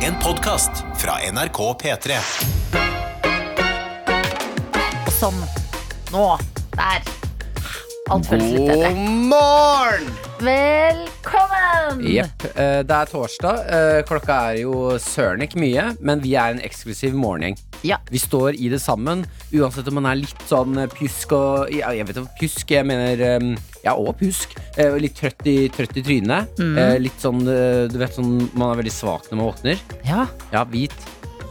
En podcast fra NRK P3 Sånn. Nå. Der. Alt føles litt bedre. morgen! Velkommen! Jepp. eh, Det er torsdag. Eh, Klokka er jo søren ikke mye, men vi er en eksklusiv morgengjeng. Ja. Vi står i det sammen, uansett om man er litt sånn eh, pjusk og ja, Jeg vet ikke om pjusk, jeg mener eh, Ja, og pjusk. Eh, og Litt trøtt i, trøtt i trynet. Eh, Litt sånn, eh, du vet sånn Man er veldig svak når man våkner. ja, Ja, hvit.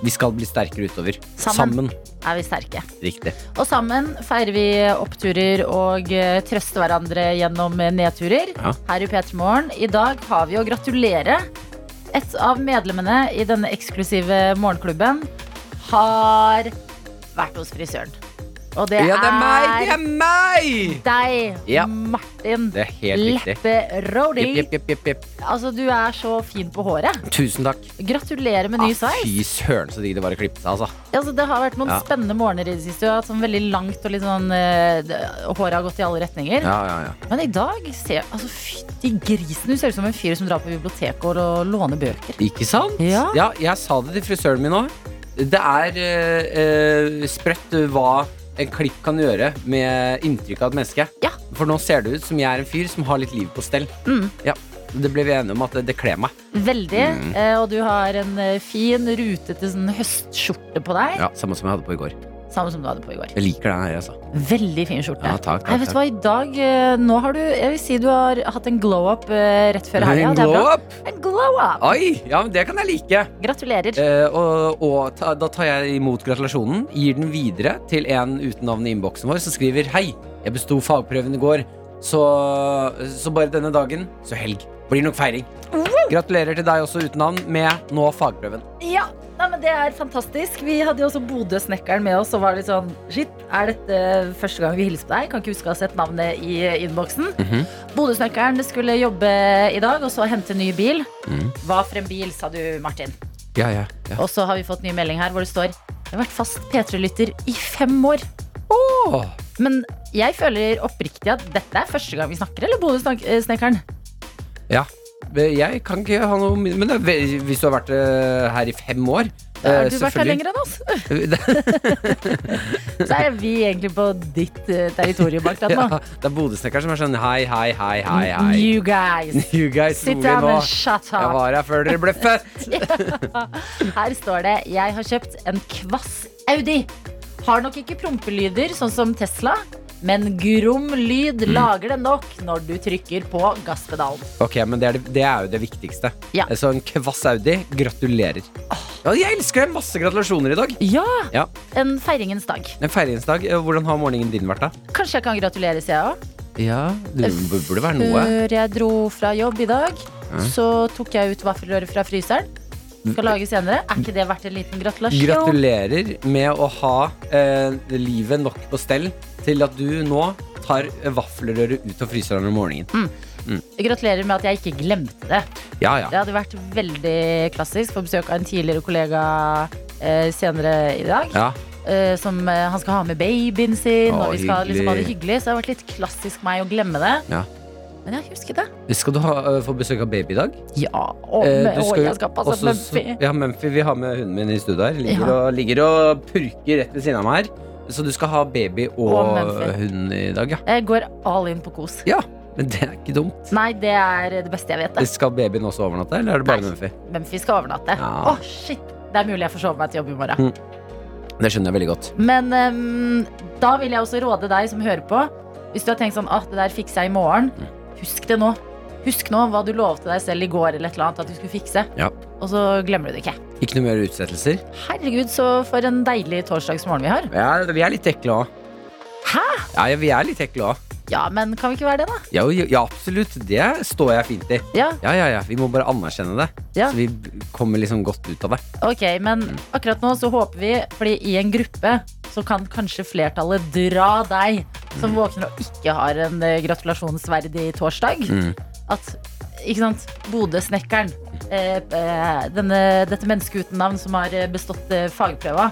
Vi skal bli sterkere utover. Sammen. Sammen. er vi sterke. Riktig. Og sammen feirer vi oppturer og eh, trøster hverandre gjennom eh, nedturer. Ja. Her i P3 Morgen. I dag har vi å gratulere et av medlemmene i denne eksklusive morgenklubben har vært hos frisøren. Og det, Ja, det er meg! Det er er meg! deg, Ja. Martin Det er helt riktig. Leppe Rody. Jepp, jepp, jepp, jepp. Altså, du er så fin på håret. Tusen takk. Gratulerer med ny Ah, sveis. Fy søren, så digg det var å klippe seg, altså. Altså, det har vært noen Ja. spennende morgener i det siste. Du har hatt sånn veldig langt og litt sånn eh, det- Håret har gått i alle retninger. Ja, ja, ja. Men i dag ser altså, fytti grisen. Du ser ut som en fyr som drar på biblioteket og, og låner bøker. Ikke sant? Ja. jeg sa det til frisøren min òg. Det er eh, eh, sprøtt hva en klipp kan gjøre med inntrykk av et menneske. Ja. For nå ser det ut som jeg er en fyr som har litt liv på stell. Mm. Ja. Det ble vi enige om at det, det kler meg. Veldig. Mm. Eh, og du har en eh, fin, rutete sånn høstskjorte på deg. Ja, Samme som jeg hadde på i går. Samme som du hadde på i går. Jeg liker den her, altså. Veldig fin skjorte. Ja, takk, takk, Nei, vet du hva, i dag eh, Nå har du Jeg vil si du har hatt en glow up eh, rett før helga. En Det er bra. glow up! En glow up! Oi! Ja, men det kan jeg like. Gratulerer. Eh, og og ta, da tar jeg imot gratulasjonen, gir den videre til en uten navn i innboksen vår som skriver Hei, jeg besto fagprøven i går, så, så bare denne dagen, så helg. Blir nok feiring. Gratulerer til deg også uten navn med nå fagprøven. Ja, nei, men det er fantastisk. Vi hadde jo også Bodø-snekkeren med oss og var litt sånn Shit, er dette første gang vi hilser på deg? Kan ikke huske å ha sett navnet i innboksen. Mhm. Bodø-snekkeren skulle jobbe i dag og så hente ny bil. Mhm. Hva for en bil, sa du, Martin. Ja, ja, ja. Og så har vi fått ny melding her hvor det står Jeg har vært fast P3-lytter i fem år. Åh, Men jeg føler oppriktig at dette er første gang vi snakker, eller Bodø-snekkeren? ja. Jeg kan ikke ha noe min- Men det, er ve- hvis du har vært eh, her i fem år eh, Har du vært her selvfølgelig. lenger enn oss? Så er vi egentlig på ditt eh, territorium akkurat nå. ja, det er bodøsnekkeren som er sånn hei, hei, hei, hei, hei. You guys. You guys Sit rolig down nå. and shut Jeg up. var her før dere ble født. Her står det Jeg har kjøpt en kvass Audi. Har nok ikke prompelyder, sånn som Tesla, men grom lyd Mm. lager det nok når du trykker på gasspedalen. Ok, men det er, det, det er jo det viktigste. Eh, Ja. Så en kvass Audi, gratulerer. Ja, jeg elsker deg! Masse gratulasjoner i dag. Ja! Ja, En feiringens dag. En feiringsdag. Eh, Hvordan har morgenen din vært, da? Kanskje jeg kan gratulere, sier jeg òg. Ja, Det burde være noe. Før jeg dro fra jobb i dag, så tok jeg ut vaffelrøret fra fryseren. Mm. Skal lage senere. Er ikke det verdt en liten gratulasjon? Gratulerer med å ha eh, livet nok på stell til at du nå tar vaffelrøret ut av fryseren om morgenen. Gratulerer med at jeg ikke glemte det. Ja, ja. Det hadde vært veldig klassisk for besøk av en tidligere kollega eh, senere i dag. ja. Eh, som eh, Han skal ha med babyen sin, Å, og vi skal liksom ha det hyggelig. hyggelig. Så det har vært litt klassisk meg å glemme det. Ja. Men jeg husker det. Skal du ha, eh, få besøk av baby i dag? Ja, å, Eh, men- å, du skal jo jeg skal passe også- på altså Mumphy. Ja, Mumphy. Vi har med hunden min i studio her. Ligger, Ja. og, ligger og purker rett ved siden av meg her. Så du skal ha baby og, Og Mumphy. hund i dag, ja. Jeg går all in på kos. ja. Men det er ikke dumt. Nei, det er det beste jeg vet. det. Skal babyen også overnatte, eller er det bare Nei. Mumphy? Mumphy skal overnatte. Å, Ja. shit! Det er mulig jeg får sove meg til jobb i morgen. Det skjønner jeg veldig godt. Men ehm, da vil jeg også råde deg som hører på Hvis du har tenkt sånn, at det der fikser jeg i morgen Husk det nå Husk nå hva du lovte deg selv i går eller et eller annet At du skulle fikse Ja. Og så glemmer du det ikke Ikke noe mer utsettelser? Herregud, så for en deilig torsdagsmorgen vi har Ja, vi er litt ekle òg. Hæ? Ja, ja, vi er litt ekle òg. Ja, men kan vi ikke være det da? Ja, jo, ja, absolutt. Det står jeg fint i. Ja, Ja, ja, ja. Vi må bare anerkjenne det. Ja. Så vi b- kommer liksom godt ut av det. ok, men akkurat nå så håper vi Fordi i en gruppe så kan kanskje flertallet dra deg Mm. Som våkner og ikke har en eh, gratulasjonsverdig torsdag Mm. at ikke sant, Bodø-snekkeren, eh, eh, denne- dette mennesket uten navn som har eh, bestått eh, fagprøva,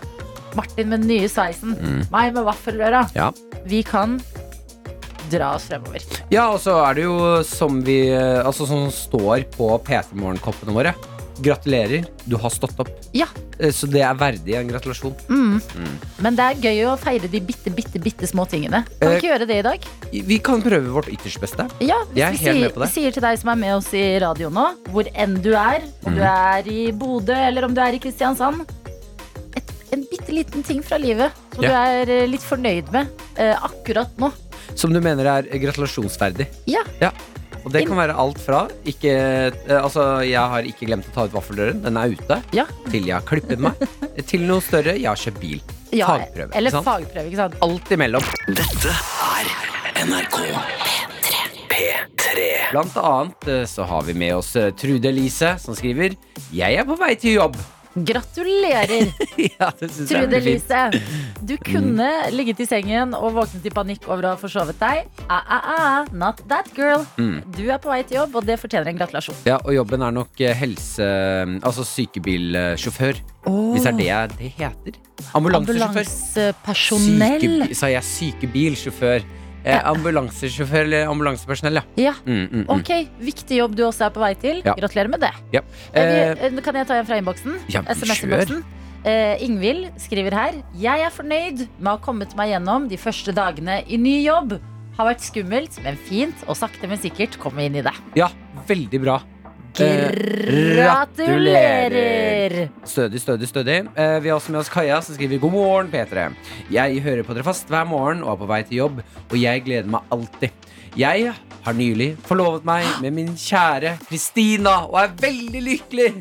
Martin med den nye sveisen, Mm. meg med vaffelrøra, Ja. vi kan dra oss fremover. eh, Ja, og så er det jo som vi Altså som står på PC-morgenkoppene våre Gratulerer, du har stått opp. Ja. Eh, Så det er verdig en gratulasjon. Mm. Men det er gøy å feire de bitte, bitte, bitte små tingene. Kan vi Eh, ikke gjøre det i dag? Vi kan prøve vårt ytterst beste. Ja, hvis jeg er vi helt sier, med på det. sier til deg som er med oss i radio nå, hvor enn du er, om du Mhm. er i Bodø eller om du er i Kristiansand et, En bitte liten ting fra livet som Ja. du er eh, litt fornøyd med eh, akkurat nå. Som du mener er gratulasjonsverdig. Ja. Og det kan være alt fra ikke, eh, Altså, jeg har ikke glemt å ta ut vaffeldøren, den er ute. Ja. Til jeg har klippet meg. Til noe større, jeg har kjøpt bil. ja Fagprøve. Eller ikke sant? fagprøve, ikke sant. Alt imellom. Blant annet eh, så har vi med oss eh, Trude Elise, som skriver Jeg er på vei til jobb. Gratulerer, ja, det synes jeg er Trude veldig fint. Mm. Elise. Du kunne ligget i sengen og våknet i panikk over å ha forsovet deg. Ah, ah, ah, not that girl. Du er på vei til jobb, og det fortjener en gratulasjon. Mm. Ja, og jobben er nok eh, helse... Altså sykebilsjåfør. Hvis det er det jeg- det heter. Ambulansesjåfør. Ambulansepersonell. Sykebi- sa jeg sykebilsjåfør? Eh, ambulansesjåfør eller ambulansepersonell, ja. Ja. Mm, mm, mm. Ok, viktig jobb du også er på vei til. Ja. Gratulerer med det. ja. Eh, Eh, vi- eh, kan jeg ta en fra innboksen? ja, SMS-innboksen. Eh, Ingvild skriver her Jeg er fornøyd med å ha kommet meg gjennom de første dagene i ny jobb. Har vært skummelt, men fint, og sakte, men sikkert komme inn i det. ja, veldig bra. Eh, Gratulerer! Stødig, stødig, stødig. Eh, vi har også med oss Kaja, som skriver God morgen, P3. Jeg hører på dere fast hver morgen og er på vei til jobb, og jeg gleder meg alltid. Jeg har nylig forlovet meg med min kjære Kristina og er veldig lykkelig.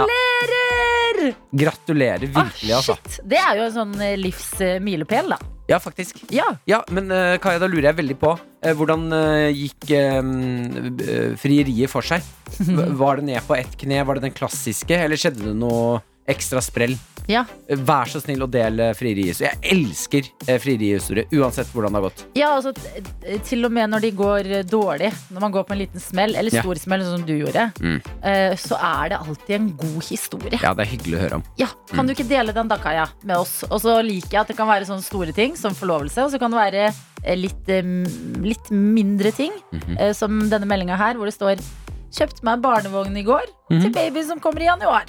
Gratulerer! Gratulerer virkelig, Ah, altså. shit. Det er jo en sånn eh, livsmilepæl, da. Ja, faktisk. Ja. Ja, men eh, Kaja, da lurer jeg veldig på eh, hvordan eh, gikk eh, eh, frieriet for seg? V- Var det ned på ett kne? Var det den klassiske, eller skjedde det noe ekstra sprell? ja. Eh, Vær så snill å eh, dele frieriet. Så Jeg elsker eh, frierihistorie, uansett hvordan det har gått. Ja, altså t- t- Til og med når de går eh, dårlig, når man går på en liten smell, eller Ja. stor smell, sånn som du gjorde, Mm. eh, så er det alltid en god historie. Ja, det er hyggelig å høre om. Ja, Kan du ikke dele den da, Kaja, med oss? Og så liker jeg at det kan være sånne store ting som forlovelse, og så kan det være eh, litt, eh, m- litt mindre ting, eh, som denne meldinga her, hvor det står Kjøpte meg barnevogn i går til baby som kommer i januar.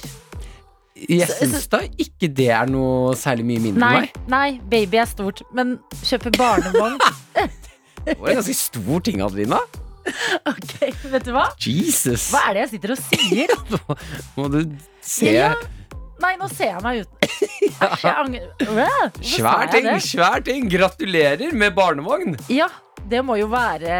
Jeg Så- syns da ikke det er noe særlig mye mindre enn Nei, meg. nei, baby er stort, men kjøpe barnevogn Det var en ganske stor ting, Adelina. Ok, vet du hva? Jesus. Hva er det jeg sitter og sier? Nå må du se. Ja, Nei, nå ser jeg meg ut. Æsj, jeg angrer. Hva? Hvorfor sa Svær jeg ting, det? svær ting. Gratulerer med barnevogn. Ja, det må jo være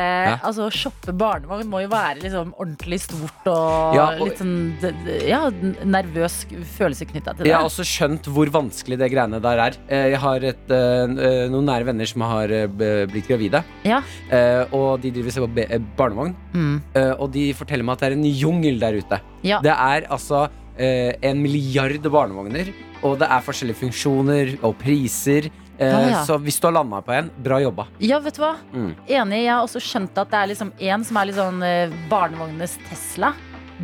Altså, shoppe barnevogn må jo være liksom ordentlig stort og, Ja, og- litt sånn d- d- Ja, n- nervøs følelse knytta til det. Jeg har også skjønt hvor vanskelig det greiene der er. Eh, Jeg har et, eh, n- eh, noen nære venner som har eh, b- blitt gravide, Ja. eh, og de driver seg på be- eh, barnevogn. Mm. Eh, Og de forteller meg at det er en jungel der ute. Ja. Det er altså eh, en milliard barnevogner, og det er forskjellige funksjoner og priser. Eh, Ja, ja. Så hvis du har landa på en, bra jobba. ja, vet du hva? Mm. Enig. Jeg har også skjønt at det er liksom én som er litt sånn eh, barnevognenes Tesla.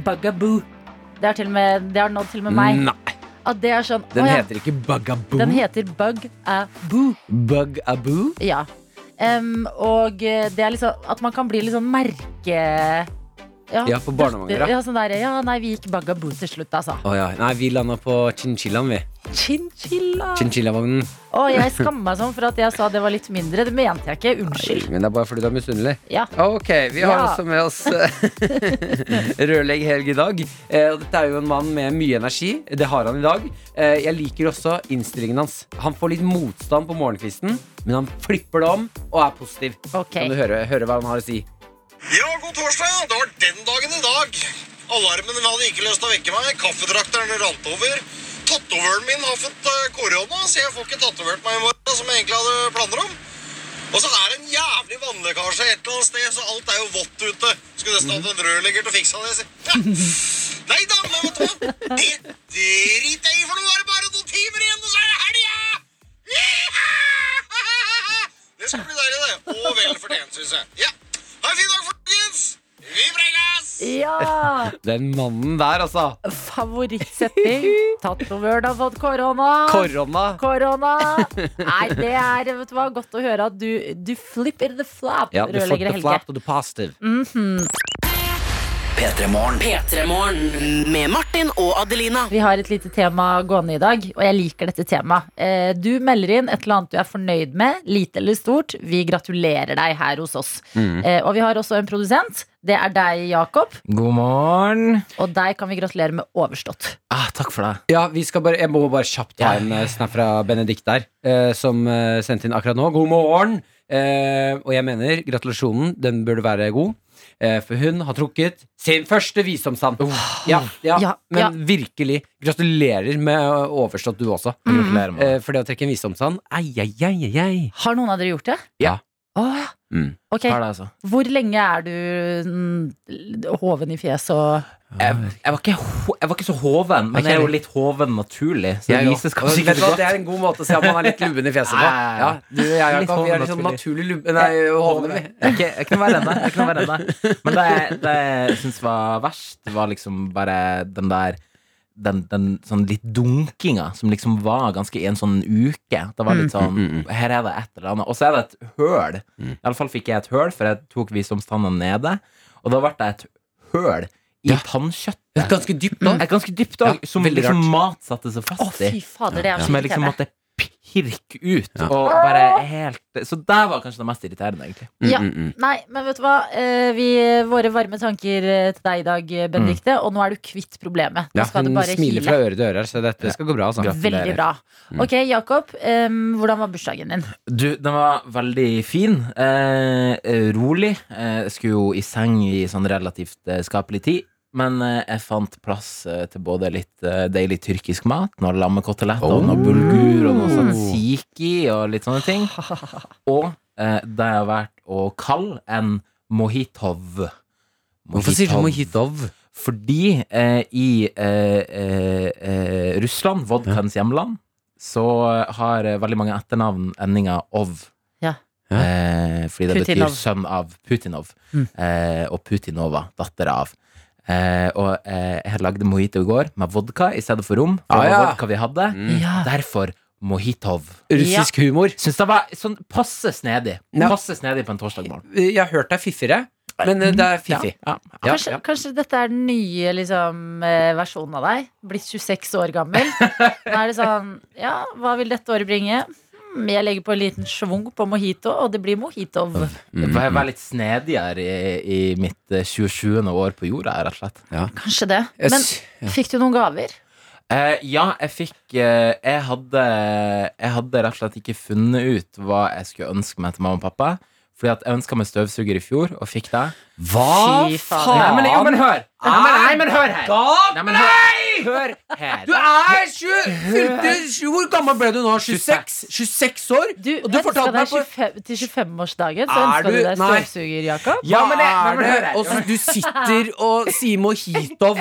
Bugaboo. Det har, til og med, det har nådd til og med meg. Nei, At det er sånn den å ja, heter ikke Bugaboo. den heter Bug-a-boo. Bugaboo? Ja. Em, og eh, det er liksom at man kan bli litt sånn merke... Ja, på barnevogner, ja. ja. Sånn der, ja, nei, vi gikk bagaboo til slutt, altså. Å ja. Nei, vi landa på chinchillaen, vi. Chinchilla. Chinchillavognen. Å, jeg skammer meg sånn for at jeg sa det var litt mindre. Det mente jeg ikke. Unnskyld. Men det er bare fordi du er misunnelig. Ja. Ok, vi har Ja. også med oss eh, Rørlegg Helg i dag. Eh, og dette er jo en mann med mye energi. Det har han i dag. Eh, jeg liker også innstillingen hans. Han får litt motstand på morgenkvisten, men han flipper det om og er positiv. Ok. Kan du høre, høre hva han har å si? Ja, god torsdag. Det var den dagen i dag. Alarmen hadde ikke lyst til å vekke meg. Kaffetrakteren rant over. Tatoveren min har fått eh, korona, så jeg får ikke tatovert meg i morgen, som jeg egentlig hadde planer om. Og så er det en jævlig vannlekkasje et eller annet sted, så alt er jo vått ute. Skulle nesten hatt en rørlegger til å fikse det. sier. Ja. Nei da, men vet du hva? Det driter jeg i, for nå er det bare noen timer igjen, og så er det helga! Yeeha! Det skal bli deilig, det. Og vel fortjent, syns jeg. Ja. Ha en fin dag, folkens! Vi prekes! Ja! Den mannen der, altså. Favorittsetting. Tatovøren har fått korona. Korona. Korona. Nei, det er vet du hva, godt å høre at du, du flipper the flap, Ja, du rørlegger flipped the Helge. flap to the positive. P3morgen med Martin og Adelina. Vi har et lite tema gående i dag, og jeg liker dette temaet. Eh, Du melder inn et eller annet du er fornøyd med, lite eller stort. Vi gratulerer deg her hos oss. Mm. Eh, Og vi har også en produsent. Det er deg, Jakob. God morgen. Og deg kan vi gratulere med overstått. Ah, takk for det. Ja, vi skal bare, Jeg må bare kjapt ta en eh, snap fra Benedikt der, eh, som eh, sendte inn akkurat nå. God morgen! Eh, og jeg mener, gratulasjonen, den burde være god. Eh, for hun har trukket sin første visdomstann. Ja, ja, Ja, men ja. virkelig. Gratulerer med eh, overstått, du også. Mm. Gratulerer med det. Eh, for det å trekke en visdomstann Ei, ei, ei, ei, ei. Har noen av dere gjort det? Ja. Åh, ja. Mm. Ok, Har det, altså. Hvor lenge er du mm, hoven i fjeset og Jeg, jeg, var ikke, ho- jeg var ikke så hoven, ikke men jeg er jo heller. litt hoven naturlig. Så det Jeg vises også. kanskje Vet ikke du så hva, godt. Det er en god måte å se om man er litt lubben i fjeset på. Ja, ja, ja. Ja, du og jeg, Litt Jakob, vi er litt hoven sånn naturlig. naturlig lubben Nei, hovne. vi. Jeg er ikke, jeg er ikke noe verre enn det. Jeg er ikke noe verre enn det. Men det, det jeg syns var verst, var liksom bare den der den, den sånn litt dunkinga som liksom var ganske i en sånn uke. Det var Mm. litt sånn Her er det et eller annet. Og så er det et høl. Iallfall fikk jeg et høl, for jeg tok visdomstanna nede. Og da ble det et høl i tannkjøttet. Ganske dypt da. Et ganske dypt dag, Ja, som veldig liksom rart. mat satte seg Mm. Å, fast i. fy fader, det er Som irriterende. jeg liksom måtte pirke ut. Og bare helt Så det var kanskje det mest irriterende, egentlig. Ja. Mm, Nei, men vet du hva? Eh, Vi, våre varme tanker eh, til deg i dag, eh, Benedikte. Og nå er du kvitt problemet. Nå Mm. Ja, skal det hun bare smiler fra hile. øre til øre, her, så dette skal gå bra. Altså. Veldig bra. Mm. Ok, Jakob. eh, hvordan var bursdagen din? Du, den var veldig fin. Eh, eh, rolig. Eh, jeg skulle jo i seng i sånn relativt eh, skapelig tid. Men eh, jeg fant plass eh, til både litt eh, deilig tyrkisk mat, noe lammekoteletter, Oh. og noe bulgur, og noe sånn siki, og litt sånne ting. Og eh, det har vært å kalle en mojitov. Hvorfor sier du mojitov? Fordi eh, i eh, eh, eh, Russland, vodkaens hjemland, så har eh, veldig mange etternavn endinga ov. Ja. Ja. Eh, fordi det Putinov. betyr sønn av Putinov. Mm. Eh, og Putinova, datter av. Eh, og eh, jeg lagde mojito i går med vodka i stedet for rom. For Ah, det var ja. Mm. vodka vi hadde. Ja. Derfor mojitov. Russisk humor. Syns det var sånn passe snedig. Ja. Passe snedig på en torsdag morgen. Jeg har hørt deg fiffigere, men eh, det er fiffig. Ja, Kanskje, kanskje dette er den nye liksom, eh, versjonen av deg? Blitt 26 år gammel. Nå er det sånn Ja, hva vil dette året bringe? Hmm, Jeg legger på en liten schwung på mojito, og det blir mojitov. Mm. Jeg var- jeg var litt snedigere i, i mitt eh, 27. år på jorda, rett og slett. Kanskje det. Jeg Men s- fikk du noen gaver? Eh, ja, jeg fikk eh, jeg, hadde, jeg hadde rett og slett ikke funnet ut hva jeg skulle ønske meg til mamma og pappa. Fordi at jeg ønska meg støvsuger i fjor, og fikk det. Hva Fy faen. Nei, faen? men, jo, men hør! Nei, men, nei, men hør her! Gap! Nei, men hør, hør her. Du er 20, fylte 20 Hvor gammel ble du nå? 26? 26 år? Du, Og du ønska fortalte deg meg på 25, til 25-årsdagen, så Er ønska du du- deg nei. støvsuger, Jakob. ja, men jeg, nei, Hva men er hør, det? og så du sitter og sier mojitov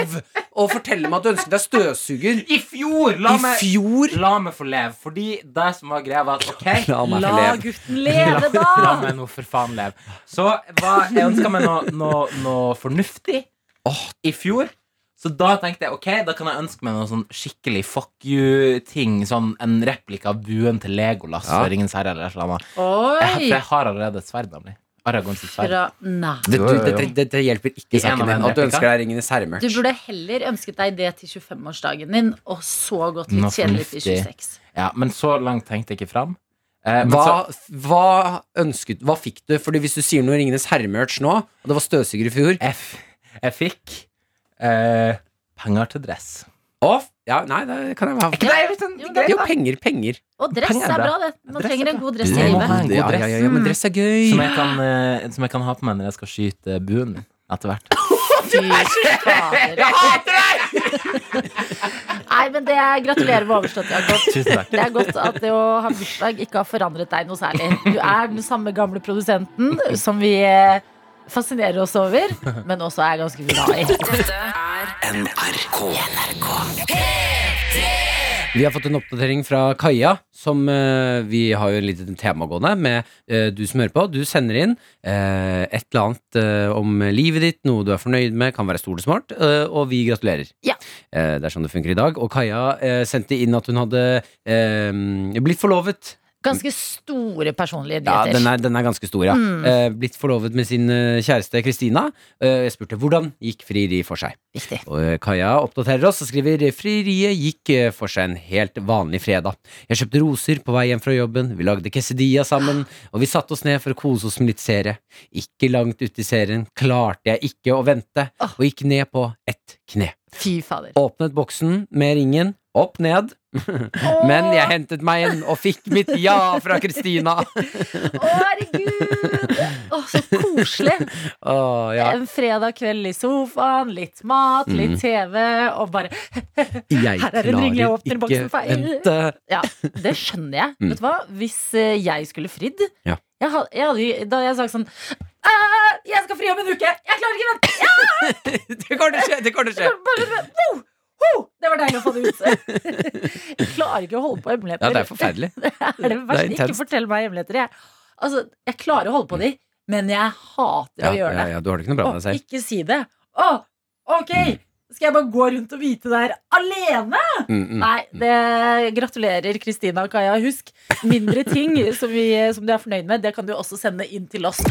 og forteller meg at du ønsket deg støvsuger I fjor! La i meg, fjor. la meg få leve. Fordi det som var greia, var at ok La gutten leve, La da! meg nå for faen leve. Så hva, jeg ønska meg noe, noe, noe fornuftig i fjor. Så da tenkte jeg ok, da kan jeg ønske meg noe sånn skikkelig fuck you-ting. Sånn En replika av buen til Legolas Ja. for Ringens herre eller et eller annet. Jeg, for Oi! jeg har allerede et sverd, nemlig. Aragorn sitt sverd. Fra, nei. Det, Jo, jo, jo. hjelper ikke I en av en replika. deg Ringenes herre Du burde heller ønsket deg det til 25-årsdagen din, og så gått Nå litt kjedelig til fornuftig. 26. Ja, men så langt tenkte jeg ikke fram. Eh, men Hva, så, hva ønsket Hva fikk du? Fordi hvis du sier noe Ringenes herre-merch nå, og det var støvsuger i fjor jeg, f- jeg fikk eh, penger til dress. Å, f- ja, nei, det kan jeg ha. Ikke det, vet du, Jo, greit, Det er jo da. penger, penger. Og dress Penger er er bra, bra. det. Man Dress er trenger en bra. god dress Du i må ha livet. en god Ja, ja, dress. Mm. ja, ja, men dress er gøy. Som jeg, kan, eh, som jeg kan ha på meg når jeg skal skyte buen min etter hvert. Fy fader. Nei, men det er Gratulerer med overstått, Jakob. Tusen takk. Det er godt at det å ha bursdag ikke har forandret deg noe særlig. Du er den samme gamle produsenten som vi eh, fascinerer oss over, men også er ganske glad i. Vi har fått en oppdatering fra Kaja, som eh, vi har jo litt tema gående med eh, du som hører på. Du sender inn eh, et eller annet eh, om livet ditt, noe du er fornøyd med, kan være stort og smart, eh, og vi gratulerer. Ja. Eh, det er sånn det funker i dag. Og Kaja eh, sendte inn at hun hadde eh, blitt forlovet. Ganske store personlige Ja, nyheter. den er, den er ganske stor, ja. Eh, blitt forlovet med sin eh, kjæreste Kristina. Eh, jeg spurte hvordan gikk frieri for seg. Viktig. Og eh, Kaja oppdaterer oss og skriver frieriet gikk eh, for seg en helt vanlig fredag. Jeg kjøpte roser på vei hjem fra jobben, vi lagde quesadilla sammen, og vi satte oss ned for å kose oss med litt serie. Ikke langt ute i serien klarte jeg ikke å vente, Ah. og gikk ned på ett kne. Fy fader. Åpnet boksen med ringen, opp ned, men jeg hentet meg en og fikk mitt ja fra Kristina. Å, herregud! Å, så koselig. Åh, ja. Mhm. En fredag kveld i sofaen, litt mat, litt TV, og bare Jeg Her er en ring, jeg klarer åpner boksen ikke feil. vente. Ja, det skjønner jeg. Vet du hva? Hvis eh, jeg skulle fridd Mm. Ja. jeg hadde, jeg hadde, jo- Da hadde jeg sagt sånn «Æ, Jeg skal fri om en uke! Jeg klarer ikke å vente! Jeg Det kommer til å skje! Det kommer til å skje. klarer bare å vente!» Ho! Ho! Det var deilig å få det ut. jeg klarer ikke å holde på hemmeligheter. Ja, det er forferdelig. Det er det verste. intenst. ikke fortell meg hemmeligheter. Jeg, altså, jeg klarer å holde på de, men jeg hater Ja, å gjøre ja, det. ja, Mm. du har det ikke noe bra med Å, deg selv. ikke si det. Å, ok! Skal jeg bare gå rundt og vite det her alene? Mm, mm. Nei, det gratulerer Kristina og Kaja. Husk, mindre ting som, vi, som du er fornøyd med, det kan du også sende inn til oss.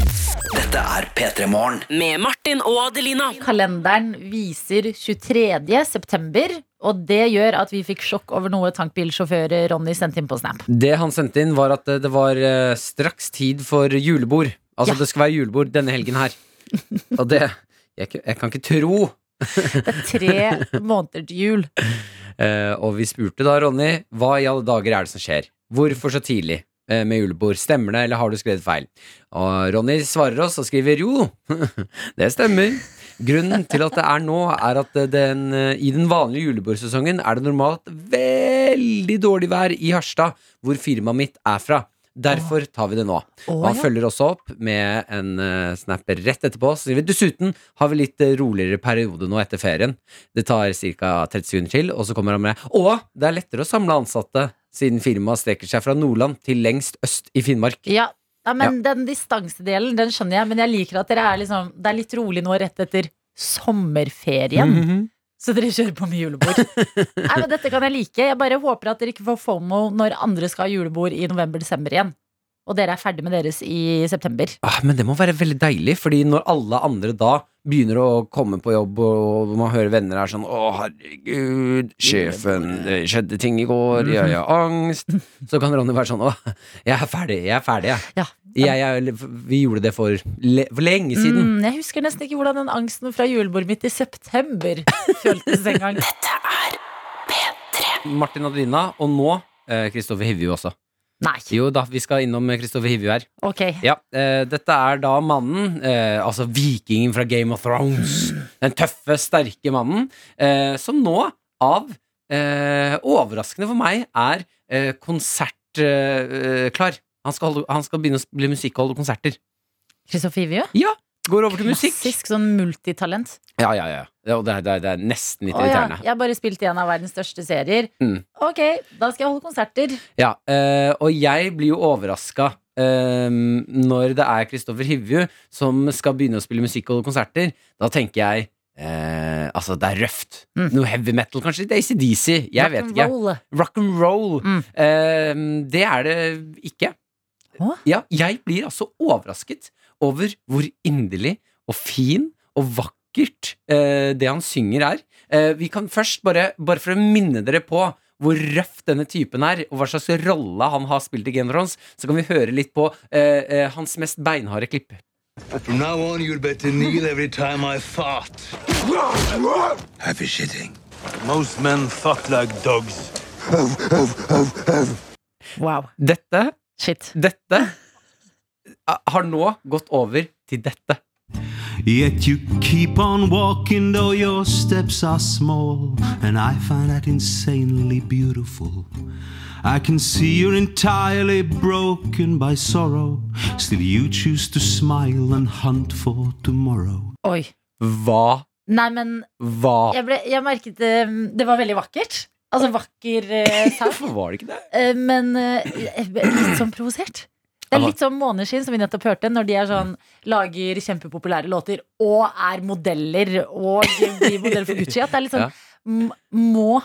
Dette er P3 Morgen. Med Martin og Adelina. Kalenderen viser 23. september, og det gjør at vi fikk sjokk over noe tankbilsjåfør Ronny sendte inn på Snap. Det han sendte inn, var at eh, det var eh, straks tid for julebord. Altså, Ja. det skal være julebord denne helgen her. Og det Jeg, k- jeg kan ikke tro. Det er tre måneder til jul. Eh, og vi spurte da Ronny hva i alle dager er det som skjer. Hvorfor så tidlig eh, med julebord? Stemmer det, eller har du skrevet feil? Og Ronny svarer oss og skriver jo, det stemmer. Grunnen til at det er nå, er at den, eh, i den vanlige julebordsesongen er det normalt veldig dårlig vær i Harstad, hvor firmaet mitt er fra. Derfor tar vi det nå. Og han følger også opp med en eh, snap rett etterpå. Så skriver vi, Dessuten har vi litt eh, roligere periode nå etter ferien. Det tar ca. 30 sekunder til, og så kommer han med Og det er lettere å samle ansatte, siden firmaet strekker seg fra Nordland til lengst øst i Finnmark. Ja, ja men den distansedelen, den skjønner jeg, men jeg liker at dere er liksom Det er litt rolig nå rett etter sommerferien. Mhm. Så dere kjører på med julebord. Nei, men Dette kan jeg like. Jeg bare håper at dere ikke får fomo når andre skal ha julebord i november-desember igjen. Og dere er ferdig med deres i september. Ah, men det må være veldig deilig, fordi når alle andre da begynner å komme på jobb, og man hører venner er sånn Å, herregud, sjefen, det skjedde ting i går, jeg har angst Så kan Ronny være sånn Å, jeg er ferdig, jeg er ferdig, jeg. Ja. jeg, jeg vi gjorde det for, le, for lenge siden. Mm, jeg husker nesten ikke hvordan den angsten fra julebordet mitt i september føltes en gang. Mm. Martin Adelina, og nå eh, Kristoffer Hivju også. Nei. Jo da, vi skal innom Kristoffer Hivju her. Ok. Ja, eh, Dette er da mannen, eh, altså vikingen fra Game of Thrones. Den tøffe, sterke mannen, eh, som nå, av eh, overraskende for meg, er eh, konsertklar. Eh, klar. han, skal holde, han skal begynne å spille musikk og holde konserter. Kristoffer Ivjø? Går over til musikk. Klassisk sånn multitalent. Ja, ja, ja. Ja, og Det er, det er, det er nesten litt Å ja, irriterende. jeg har bare spilt i en av verdens største serier. Mm. Ok, da skal jeg holde konserter. Ja, eh, og jeg blir jo overraska eh, når det er Kristoffer Hivju som skal begynne å spille musikk og holde konserter. Da tenker jeg eh, altså, det er røft. Mm. Noe heavy metal, kanskje litt ACDC. Jeg vet ikke. Rock'n'roll. Rock and roll. Mm. Eh, det er det ikke. Hå? Ja, jeg blir altså overrasket over hvor inderlig og fin og vakkert eh, det han synger er. Eh, vi kan først bare, bare for å minne dere på hvor røff denne typen er, og hva slags rolle han har spilt i Game of Thrones, så kan vi høre litt på eh, eh, hans mest beinharde klipp. From now on, you'd better kneel every time I fart. Happy shitting. Most men fuck like dogs. Wow. Dette, Shit. dette eh, har nå gått over til dette. Yet you keep on walking, though your steps are small, and I find that insanely beautiful. I can see you're entirely broken by sorrow. Still, you choose to smile and hunt for tomorrow. Oi. Hva, Nei, men hva jeg, ble, jeg merket det Det var veldig vakkert. Altså vakker eh, sang. Hvorfor var det ikke det? Eh, men eh, jeg ble litt sånn provosert. Det er Hva? litt sånn Måneskinn, som vi nettopp hørte, når de er sånn, lager kjempepopulære låter og er modeller og blir modell for Gucci. At det er litt sånn Ja. m- Må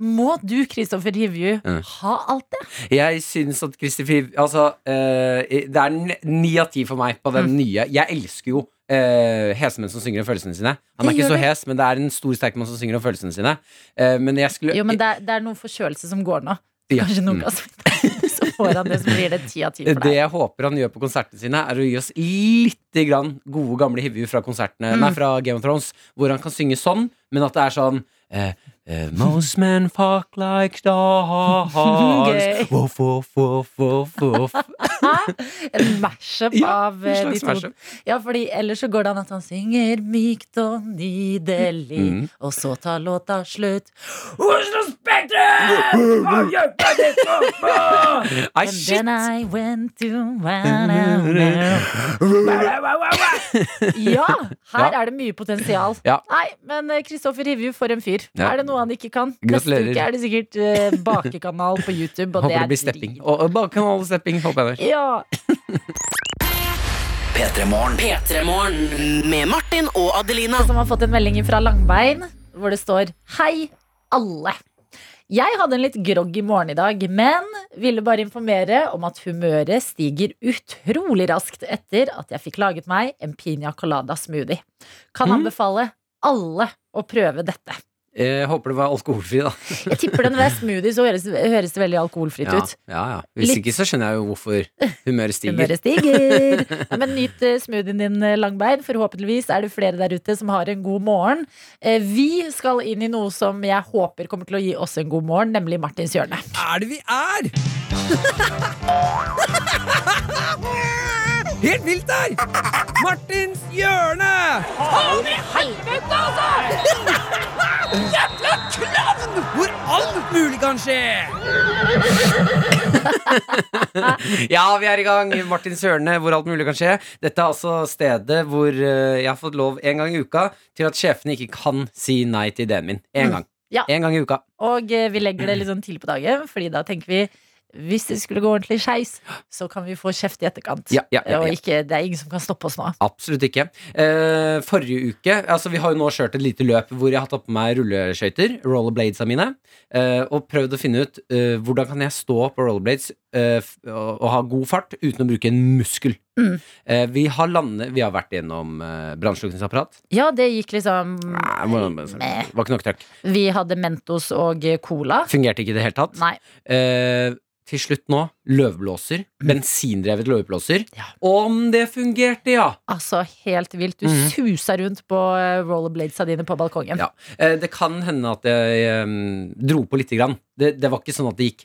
Må du, Kristoffer Hivju, Mm. ha alt det? Jeg syns at Christer Fiv Altså, eh, det er ne- ni av ti for meg på den nye. Jeg elsker jo eh, hese menn som synger om følelsene sine. Han Det er ikke gjør så du. hes, men det er en stor, sterk mann som synger om følelsene sine. Eh, men jeg skulle Jo, men det er, det er noen forkjølelse som går nå. Ja. Kanskje noen Mm. kan smitte. Så får han det, så blir det ti av ti for Det deg. jeg håper han gjør på konsertene sine, er å gi oss lite grann gode, gamle hivju fra konsertene Nei, fra Game of Thrones, hvor han kan synge sånn, men at det er sånn eh, eh, Most men fuck like dogs Gøy. Woff, woff, woff, woff, woff. En mashup Ja, av en eh, slags de to. mashup. Ja, fordi ellers så går det an at han synger mykt og nydelig, Mm. og så tar låta slutt. Oslo Spektrum! Hva gjør jeg det for? Nei, And shit! then I went to Ja, her Ja. er det mye potensial. Ja. Nei, men eh, Kristoffer Hivju, for en fyr. Ja. Er det noe han ikke kan? Gratulerer. Neste uke er det sikkert eh, bakekanal på YouTube. Og Håper det er blir stepping. drit. Og, og bakkanalstepping, håper jeg. det. Ja. P3 Morgen. P3morgen med Martin og Adelina. som har fått en melding fra Langbein, hvor det står Hei, alle. Jeg hadde en litt groggy morgen i dag, men ville bare informere om at humøret stiger utrolig raskt etter at jeg fikk laget meg en piña colada smoothie. Kan anbefale alle å prøve dette. Eh, håper det var alkoholfri, da. Jeg tipper den ved smoothie, så høres, høres det veldig alkoholfritt Ja, ut. ja, ja. Hvis Litt- ikke, så skjønner jeg jo hvorfor humøret stiger. Humøret stiger. Ja, men nyt eh, smoothien din, eh, Langbein. Forhåpentligvis er det flere der ute som har en god morgen. Eh, Vi skal inn i noe som jeg håper kommer til å gi oss en god morgen, nemlig Martins hjørne. er det vi er? Helt vilt der! Martins hjørne! Faen i helvete, altså! Jævla klovn! Hvor alt mulig kan skje! ja, vi er i gang. Martins hjørne, hvor alt mulig kan skje. Dette er altså stedet hvor eh, jeg har fått lov en gang i uka til at sjefene ikke kan si nei til ideen min. En gang. Ja. En gang i uka. Og eh, vi legger det litt sånn til på dagen, Fordi da tenker vi hvis det skulle gå ordentlig skeis, så kan vi få kjeft i etterkant. Ja, ja, ja, ja. Og ikke, det er ingen som kan stoppe oss nå. Absolutt ikke. Eh, forrige uke altså Vi har jo nå kjørt et lite løp hvor jeg har tatt på meg rulleskøyter, rollerblades mine, eh, og prøvd å finne ut eh, hvordan kan jeg stå på rollerblades eh, f- og, og ha god fart uten å bruke en muskel. Mm. Eh, vi, har landet, vi har vært gjennom eh, brannslukningsapparat. Ja, det gikk liksom Nei, hvordan- Meh. Var ikke nok trøkk. Vi hadde Mentos og eh, cola. Fungerte ikke i det hele tatt. Nei. Eh, til slutt nå, løvblåser. Bensindrevet løvblåser. Om det fungerte, ja! Altså, helt vilt. Du Mhm. susa rundt på eh, rollerbladesa dine på balkongen. Ja. Eh, Det kan hende at jeg em, dro på lite grann. Det, det var ikke sånn at det gikk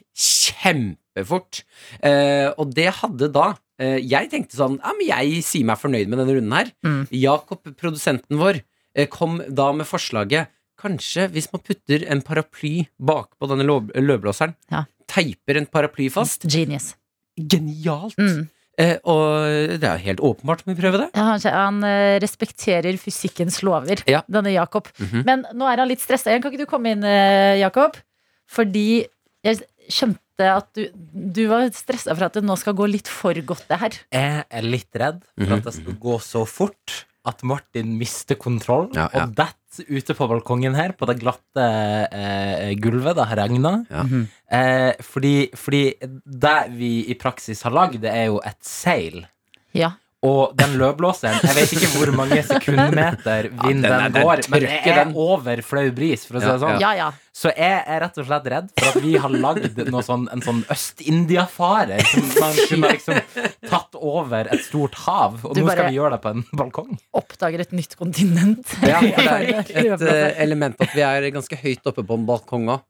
kjempefort. Eh, og det hadde da eh, Jeg tenkte sånn Ja, men jeg sier meg fornøyd med denne runden her. Mm. Jakob, produsenten vår, eh, kom da med forslaget Kanskje hvis man putter en paraply bakpå denne lov- løvblåseren, Ja. teiper en paraply fast Genius. Genialt! Mm. Eh, og det er jo helt åpenbart om vi prøver det. Ja, Han, han eh, respekterer fysikkens lover, Ja. denne Jakob. Mhm. Men nå er han litt stressa igjen. Kan ikke du komme inn, eh, Jakob? Fordi jeg skjønte at du, du var stressa for at det nå skal gå litt for godt, det her. Jeg er litt redd for at det skal Mhm. gå så fort at Martin mister kontroll Ja, ja. og detter ute på balkongen her, på det glatte eh, gulvet det har regna. Ja. Eh, fordi, fordi det vi i praksis har lagd, det er jo et seil. Ja. Og den løvblåseren Jeg vet ikke hvor mange sekundmeter den vind den, er- den går, men det trykker er den. over flau bris, for å si det Ja, sånn. Ja, ja. Så jeg er rett og slett redd for at vi har lagd noe sånn, en sånn Øst-India-fare som man kunne liksom tatt over et stort hav. Og Du nå skal bare- vi gjøre det på en balkong. Oppdager et nytt kontinent. Ja, for det er et eh, element at vi er ganske høyt oppe på en balkong òg.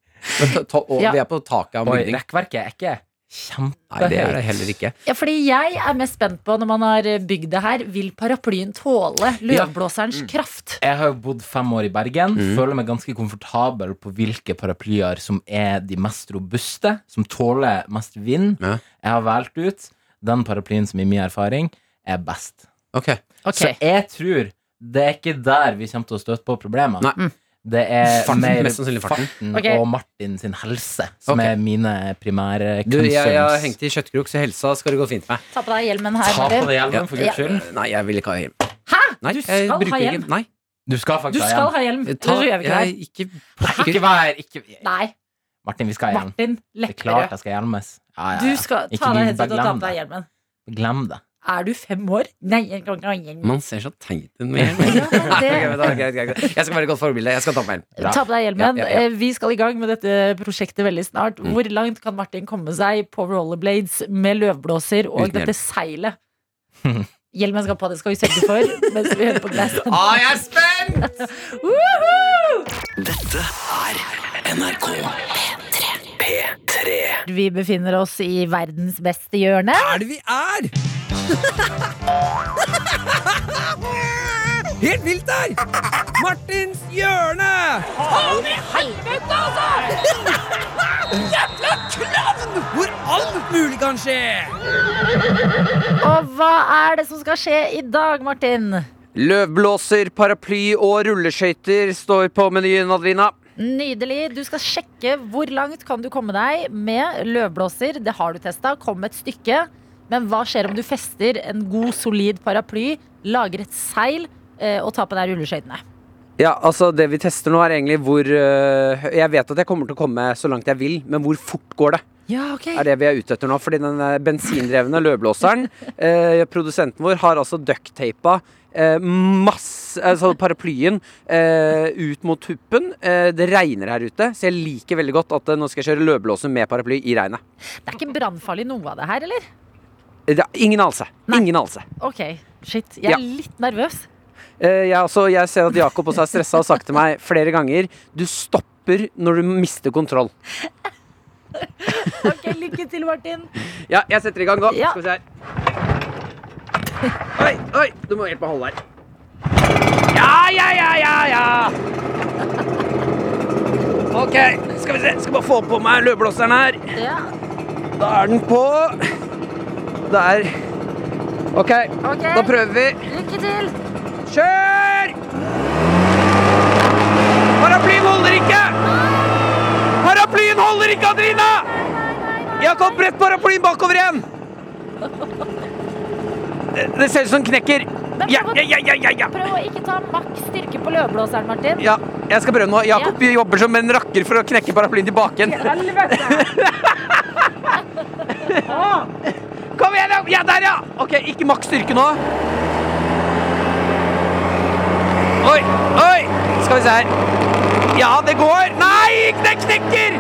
Ja. Vi er på taket av en Oi, bygning. rekkverket er ikke Nei, det er det kjempehøyt. heller ikke. Ja, fordi jeg er mest spent på, når man har eh, bygd det her, vil paraplyen tåle Mm. løvblåserens kraft? Jeg har jo bodd fem år i Bergen. Mm. Føler meg ganske komfortabel på hvilke paraplyer som er de mest robuste, som tåler mest vind. Ja. Jeg har valgt ut den paraplyen som i min erfaring er best. Ok, Ok. Så jeg tror det er ikke der vi kommer til å støte på problemer. Nei. Det er Farten, mer mest sannsynlig farten. Mm. Ok. og Martin sin helse som Ok. er mine primære du, jeg, jeg har concerns. hengt i kjøttkrok, så helsa skal det gå fint med. Ta på deg hjelmen her, Ta på Mari. deg hjelmen, for Ja. guds skyld. Nei, jeg vil ikke ha hjelm. Hæ? Nei, Du jeg skal ha bruker hjelm. Ikke, nei, Du skal Du faktisk ha skal hjelm. ha hjelm, ellers ta, så gjør vi ikke det. jeg, ikke pokker. Ikke vær ikke, Nei. Martin, vi skal ha hjelm. Martin Det er klart Lepperød. jeg skal hjelmes. Ja, ja, Du ja. skal Ikke ta gud, deg headset bare og ta på glem deg det. hjelmen. Glem det. Er du fem år? Nei, jeg kan ikke ha hjelm. Man ser så teit ut med hjelm. Ja, men Ok, det- men da- greit, greit, greit. Jeg skal være et godt forbilde. Jeg skal ta på meg hjelm. Ta på deg hjelmen. Ja, ja, Mm. ja. Eh, Vi skal i gang med dette prosjektet veldig snart. Hvor langt kan Martin komme seg på rollerblades med løvblåser og Uten hjelm. dette seilet? Hjelmen skal på, det skal vi sørge for mens vi hører på Glass. Ah, jeg er spent! Dette er NRK P3. Vi befinner oss i verdens beste hjørne. Er det vi er? Helt vilt der! Martins hjørne! Faen i helvete, altså! Jævla klovn! Hvor alt mulig kan skje! Og hva er det som skal skje i dag, Martin? Løvblåser, paraply og rulleskøyter står på menyen, Adelina. Nydelig. Du skal sjekke hvor langt kan du komme deg med løvblåser. Det har du testa. Kom et stykke. Men hva skjer om du fester en god, solid paraply, lager et seil eh, og tar på deg rulleskøytene? Ja, altså Det vi tester nå, er egentlig hvor øh, hø- Jeg vet at jeg kommer til å komme så langt jeg vil, men hvor fort går det? Ja, ok. er det vi er ute etter nå. Fordi den eh, bensindrevne løvblåseren, eh, produsenten vår, har altså ducktapa eh, masse Altså paraplyen eh, ut mot tuppen. Eh, det regner her ute, så jeg liker veldig godt at eh, nå skal jeg kjøre løvblåser med paraply i regnet. Det er ikke brannfarlig noe av det her, eller? Eh, det er ingen anelse. Ingen anelse. Ok, shit. Jeg er Ja. litt nervøs. Eh, jeg, altså, jeg ser at Jakob også er stressa og har sagt til meg flere ganger Du stopper når du mister kontroll. Ok, Lykke til, Martin. Ja, jeg setter i gang nå. Ja. Skal vi se her. Oi, oi! Du må hjelpe meg å holde her. Ja, ja, ja, ja, ja! OK, skal vi se. Skal bare få på meg løvblåseren her. Ja, Da er den på. Der. OK, Ok. da prøver vi. lykke til. Kjør! Paraplyen holder ikke! Paraplyen holder ikke, Adrina! Jakob, brett paraplyen bakover igjen! Det, det ser ut som den knekker. Men Ja, prøv, ja, å, ja, ja, ja, ja. prøv å ikke ta maks styrke på løvblåseren, Martin. ja. Jeg skal prøve nå. Jakob jobber som en rakker for å knekke paraplyen tilbake igjen. Kom igjen, ja! ja der, ja! Ok, ikke maks styrke nå. Oi, oi! Skal vi se her. Ja, det går. Nei, det knekker!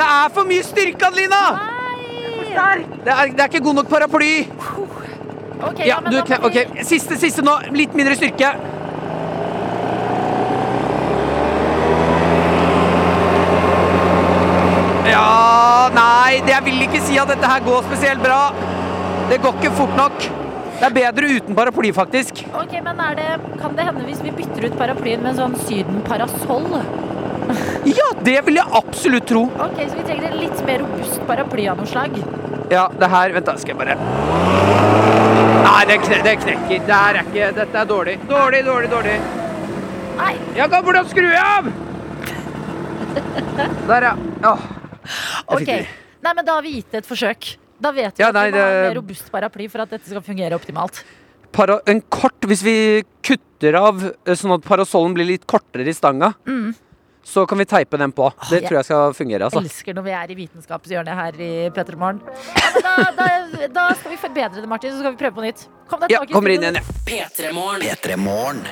Det er for mye styrke, Adelina! Nei! Det er, det er ikke god nok paraply. Ok, Ja, men du, da kne- må vi- ok, Siste, siste nå. Litt mindre styrke. Ja Nei, det jeg vil ikke si at dette her går spesielt bra. Det går ikke fort nok. Det er bedre uten paraply, faktisk. Ok, men er det, Kan det hende hvis vi bytter ut paraplyen med en sånn Syden-parasoll? Ja, det vil jeg absolutt tro. Ok, Så vi trenger en litt mer robust paraply av noe slag. Ja, det her Vent, da skal jeg bare Nei, det, kne, det knekker. Det her er ikke Dette er dårlig. Dårlig, dårlig, dårlig. Nei, Jakob, hvordan skrur jeg av? Der, ja. Åh. ok. fikk det. Nei, men Da har vi gitt det et forsøk. Da vet vi Ja, at nei, vi må ha en det- mer robust paraply for at dette skal fungere optimalt. Para, en kort Hvis vi kutter av eh, sånn at parasollen blir litt kortere i stanga, så kan vi teipe den på. Det jeg- tror jeg skal fungere, altså. Elsker når vi er i vitenskapshjørnet her i P3 Morgen. Ja, men da, da, da skal vi forbedre det, Martin, så skal vi prøve på nytt. Kom deg Ja, tilbake i kommer inn studio. igjen, ja. P3 Morgen P3 Morgen.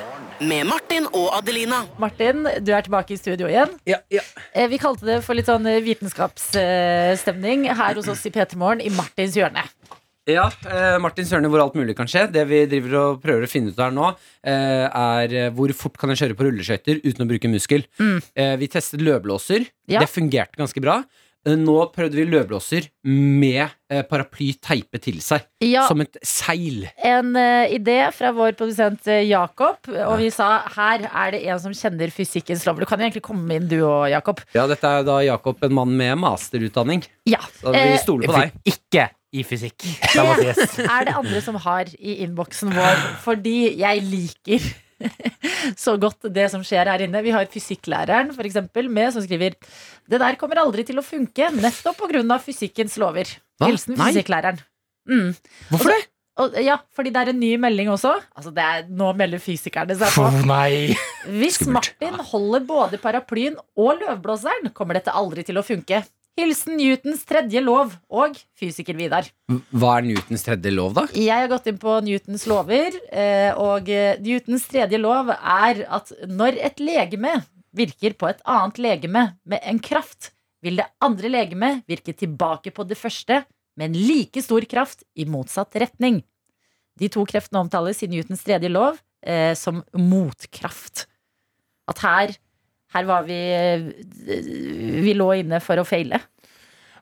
med Martin og Adelina. Martin, du er tilbake i studio igjen. Ja, ja. Eh, Vi kalte det for litt sånn vitenskapsstemning her hos oss i P3 Morgen i Martins hjørne. Ja, eh, Martin Sørne, hvor alt mulig kan skje. Det vi driver og prøver å finne ut her nå, eh, er eh, hvor fort kan jeg kjøre på rulleskøyter uten å bruke muskel. Mm. Eh, vi testet løvblåser. Ja. Det fungerte ganske bra. Eh, Nå prøvde vi løvblåser med eh, paraply teipet til seg, Ja, som et seil. en eh, idé fra vår produsent eh, Jakob. Og vi sa her er det en som kjenner fysikkens lov. Du kan jo egentlig komme inn du og Jakob. Ja, dette er da Jakob, en mann med masterutdanning. Ja. Så vi Eh, stoler på deg. Ikke i fysikk. Det må det sies. er det andre som har i innboksen vår, fordi jeg liker så godt det som skjer her inne. Vi har fysikklæreren for eksempel, med som skriver Det der kommer aldri til å funke, nettopp pga. fysikkens lover. Hva? Hilsen Nei. fysikklæreren. Mm. Hvorfor det? Og, ja, fordi det er en ny melding også. Altså, det er, nå melder fysikerne seg på. nei! Hvis Martin holder både paraplyen og løvblåseren, kommer dette aldri til å funke. Hilsen Newtons tredje lov og fysiker Vidar. Hva er Newtons tredje lov, da? Jeg har gått inn på Newtons lover, eh, og eh, Newtons tredje lov er at når et legeme virker på et annet legeme med en kraft, vil det andre legeme virke tilbake på det første med en like stor kraft i motsatt retning. De to kreftene omtales i Newtons tredje lov eh, som motkraft. At her, her var vi eh, Vi lå inne for å feile.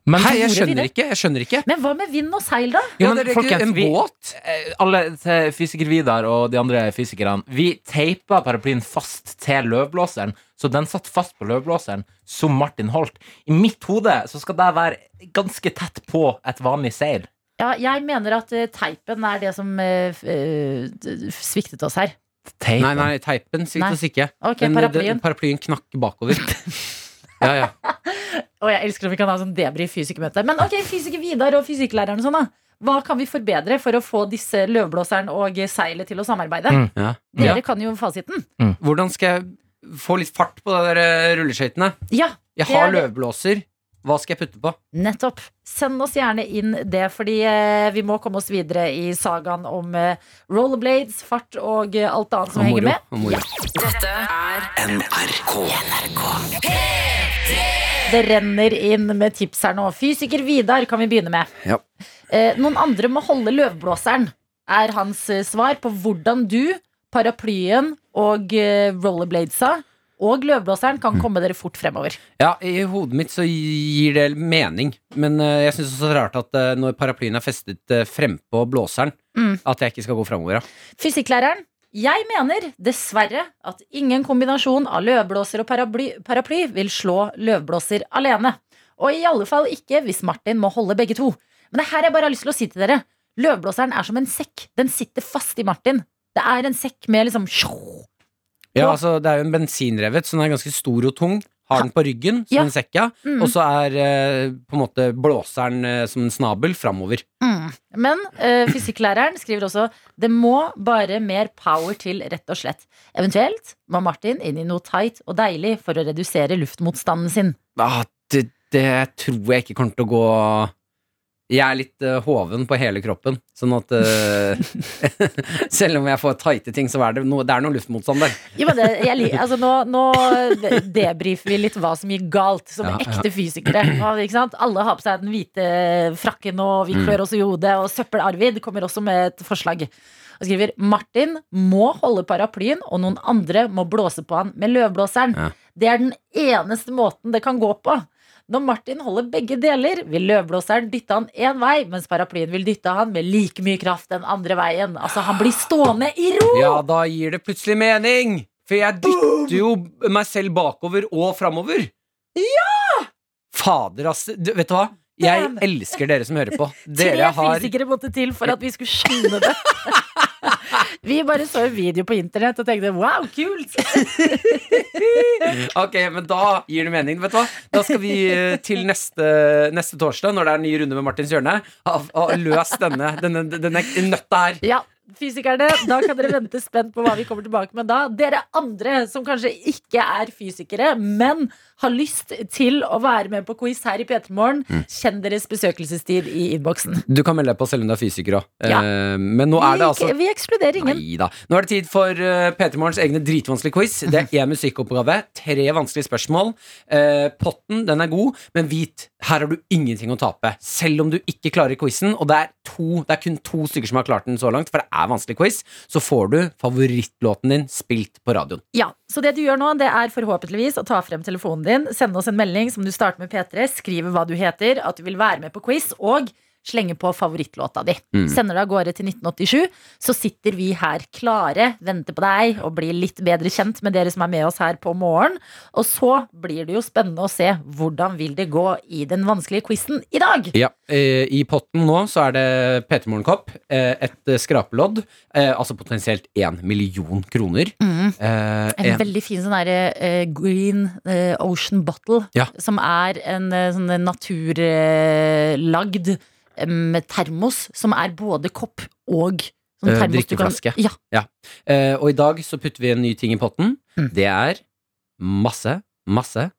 Men, Hei, Tore jeg Vidar. skjønner ikke. Jeg skjønner ikke. Men hva med vind og seil, da? Jo, Ja, men det er ikke folkens, en vi- båt. eh, alle til fysiker Vidar og de andre fysikerne Vi teipa paraplyen fast til løvblåseren, så den satt fast på løvblåseren, som Martin holdt. I mitt hode så skal det være ganske tett på et vanlig seil. Ja, jeg mener at eh, teipen er det som eh, f- eh, d- sviktet oss her. Teipen. Nei, nei, teipen Nei. svikter oss ikke. Ok, Men eh, paraplyen. det- paraplyen knakk bakover. ja, ja. Og jeg elsker om vi kan ha sånn debrief fysikermøte. Men ok, fysiker Vidar og fysikklæreren og sånn, da. Hva kan vi forbedre for å få disse løvblåseren og seilet til å samarbeide? Mm. ja. Dere Ja. kan jo fasiten. Hvordan skal jeg få litt fart på de der eh, rulleskøytene? Ja, Jeg Det har er det. løvblåser. Hva skal jeg putte på? nettopp. Send oss gjerne inn det, fordi eh, vi må komme oss videre i sagaen om eh, rollerblades, fart og eh, alt annet som Og henger moro. med. Og moro. Dette er NRK. Det renner inn med tips her nå. Fysiker Vidar kan vi begynne med. Ja. Eh, noen andre må holde løvblåseren, er hans eh, svar på hvordan du, paraplyen og eh, rollerbladesa og løvblåseren kan komme dere fort fremover. Ja, I hodet mitt så gir det mening, men eh, jeg syns også det er rart at eh, når paraplyen er festet eh, frempå blåseren, Mm. at jeg ikke skal gå framover. Ja. Fysikklæreren. Jeg mener dessverre at ingen kombinasjon av løvblåser og paraply, paraply vil slå løvblåser alene. Og i alle fall ikke hvis Martin må holde begge to. Men det her jeg bare har lyst til å si til dere. Løvblåseren er som en sekk. Den sitter fast i Martin. Det er en sekk med liksom sjå. Ja, Ja. altså, det er jo en bensinrevet, så den er ganske stor og tung. Har den på ryggen som Ja. en sekk, ja. Mm. Og så er eh, på en måte blåseren eh, som en snabel framover. Mm. Men eh, fysikklæreren skriver også det må bare mer power til, rett og slett. Eventuelt må Martin inn i noe tight og deilig for å redusere luftmotstanden sin. Ah, det, det tror jeg ikke kommer til å gå Jeg er litt eh, hoven på hele kroppen, sånn at eh, Selv om jeg får tighte ting, så er det noe, det er noe luftmotstand der. Jo, men det, jeg, lik- altså, nå, nå debrifer vi litt hva som gikk galt, som Ja, ja. ekte fysikere. Og, Ikke sant? Alle har på seg den hvite frakken, og Mm. vi klør oss i hodet. Og Søppel-Arvid kommer også med et forslag. Og skriver Martin må holde paraplyen, og noen andre må blåse på han med løvblåseren. Ja. Det er den eneste måten det kan gå på. Når Martin holder begge deler, vil løvblåseren dytte han én vei, mens paraplyen vil dytte han med like mye kraft den andre veien. Altså, han blir stående i ro! Ja, da gir det plutselig mening! For jeg dytter jo meg selv bakover og framover. Ja! Fader, ass. Du, vet du hva? Jeg Damn. elsker dere som hører på. Tre Dere har fysikere måtte til for at vi skulle skjønne det. vi bare så en video på internett og tenkte wow, kult! Ok, men da gir det mening. Vet du hva? Da skal vi eh, til neste, neste torsdag, når det er en ny runde med Martins hjørne, ha, ha løst denne, denne, denne nøtta her. Ja, fysikerne, da kan dere vente spent på hva vi kommer tilbake med da. Dere andre som kanskje ikke er fysikere, men har lyst til å være med på quiz her i P3 Morgen, Mm. kjenn deres besøkelsestid i innboksen. Du kan melde deg på selv om du er fysiker òg. Ja. Men nå er det altså Vi, vi ekskluderer ingen. Nei da. Nå er det tid for uh, P3 Morgens egne dritvanskelige quiz. Det er én musikkoppgave, tre vanskelige spørsmål. Eh, potten den er god, men vit, her har du ingenting å tape. Selv om du ikke klarer quizen, og det er, to, det er kun to stykker som har klart den så langt, for det er vanskelig quiz, så får du favorittlåten din spilt på radioen. Ja, Så det du gjør nå, det er forhåpentligvis å ta frem telefonen din, sende oss en melding som du starter med P3, skrive hva du heter, at du vil være med på quiz, og slenge på favorittlåta di. Sender du av gårde til 1987, så sitter vi her klare, venter på deg og blir litt bedre kjent med dere som er med oss her på morgen. Og så blir det jo spennende å se hvordan vil det gå i den vanskelige quizen i dag. Ja, eh, I potten nå så er det P3 Morgenkopp, eh, et eh, skrapelodd, eh, altså potensielt én million kroner. Eh, Mm. En en- veldig fin sånn der, eh, green eh, ocean bottle, Ja. som er en eh, sånn eh, naturlagd em, termos som er både kopp og sånn Eh, termos du kan- drikkeflaske. Ja, Eh, og i dag så putter vi en ny ting i potten. Mm. Det er masse, masse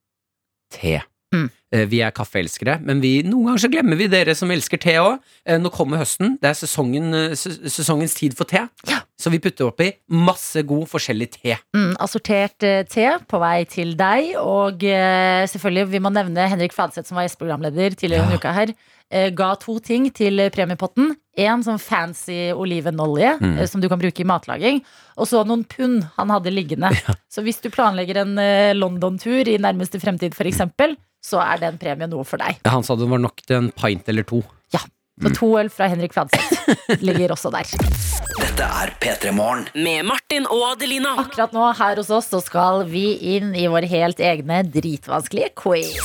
te. Mm. Eh, Vi er kaffeelskere, men vi, noen ganger så glemmer vi dere som elsker te òg. Nå kommer høsten. Det er sesongen, eh, ses- sesongens tid for te. Ja. Så vi putter oppi masse god forskjellig te. mm, assortert eh, te på vei til deg. Og eh, selvfølgelig vil man nevne Henrik Fadseth, som var gjesteprogramleder tidligere denne uka her. eh, Ga to ting til eh, premiepotten. En sånn fancy olivenolje Mm. eh, som du kan bruke i matlaging. Og så noen pund han hadde liggende. Så hvis du planlegger en eh, London-tur i nærmeste fremtid, f.eks., så er den premien noe for deg. Ja, Han sa det var nok til en pint eller to. Så to øl fra Henrik Fadseth ligger også der. Dette er P3 Morgen. Med Martin og Adelina. Akkurat nå her hos oss så skal vi inn i vår helt egne dritvanskelige quiz.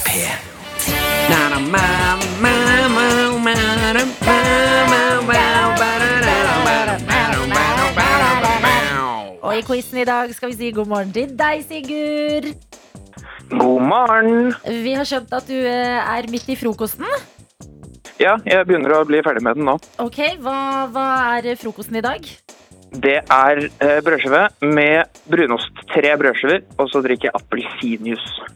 Og i quizen i dag skal vi si god morgen til deg, Sigurd. God morgen. Vi har skjønt at du eh, er midt i frokosten. Ja, jeg begynner å bli ferdig med den nå. Ok, Hva, hva er frokosten i dag? Det er eh, brødskive med brunost. Tre brødskiver, og så drikker jeg appelsinjuice.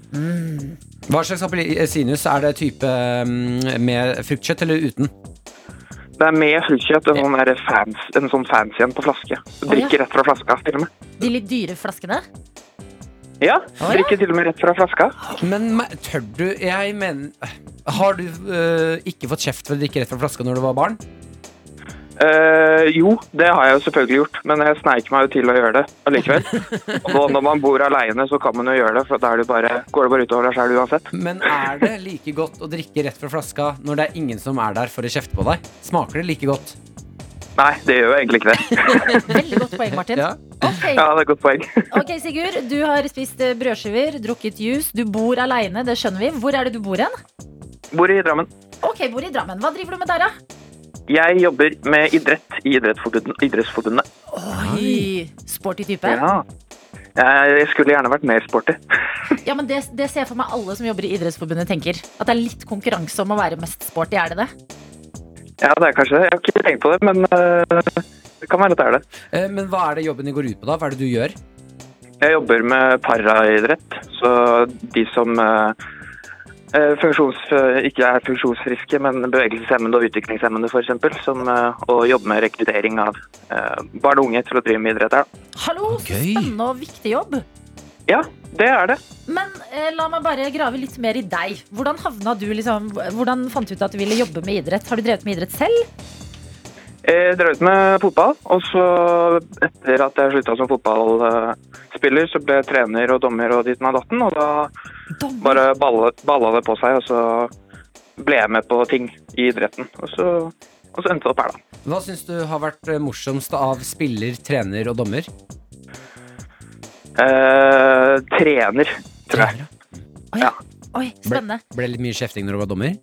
Hva slags appelsinjuice? Er det type mm, med fruktkjøtt eller uten? Det er med fruktkjøtt, en, sånn der fans, en sånn fancy en på flaske. Drikker rett fra flaska, til og med. De litt dyre flaskene? Ja, ja. drikker til og med rett fra flaska. Men me- tør du Jeg mener Har du øh, ikke fått kjeft for å drikke rett fra flaska når du var barn? Eh, jo, det har jeg jo selvfølgelig gjort, men jeg sneik meg jo til å gjøre det allikevel. Og nå når man bor aleine, så kan man jo gjøre det, for da er det bare, går det bare utover deg sjøl uansett. Men er det like godt å drikke rett fra flaska når det er ingen som er der for å kjefte på deg? Smaker det like godt? Nei, det gjør jo egentlig ikke det. Veldig godt poeng, Martin. Ja. Ok, Ja, det er et godt poeng. ok, Sigurd. Du har spist eh, brødskiver, drukket juice. Du bor aleine, det skjønner vi. Hvor er det du bor hen? Bor i Drammen. Ok, bor i Drammen. Hva driver du med der, da? Jeg jobber med idrett i Idrettsforbundet- Idrettsforbundet. Oi, Sporty type. Ja, Ja. Jeg skulle gjerne vært mer sporty. men det, det ser jeg for meg alle som jobber i Idrettsforbundet tenker. At det er litt konkurranse om å være mest sporty, er det det? Ja, det er kanskje det. Jeg har ikke tenkt på det, men øh, det kan være at det er det. Eh, Men hva er det jobben din går ut på, da? Hva er det du gjør? Jeg jobber med paraidrett, så de som øh, øh, funksjons, øh, ikke er funksjonsfriske, men bevegelseshemmede og utviklingshemmede f.eks., som øh, å jobbe med rekruttering av øh, barn og unge til å drive med idrett. Ja, Hallo, så Gøy. spennende og viktig jobb. ja det er det. Men eh, la meg bare grave litt mer i deg. Hvordan havna du liksom Hvordan fant du ut at du ville jobbe med idrett? Har du drevet med idrett selv? Jeg drev ut Eh, med fotball, og så etter at jeg slutta som fotballspiller, så ble jeg trener og dommer og ditten og datten, og da Dommer. bare balla, balla det på seg, og så ble jeg med på ting i idretten. Og så, og så endte det opp her, da. Hva syns du har vært eh, morsomst av spiller, trener og dommer? Eh, trener, tror jeg. Oi, ja. Oi, spennende. Ble det litt mye kjefting når du var dommer?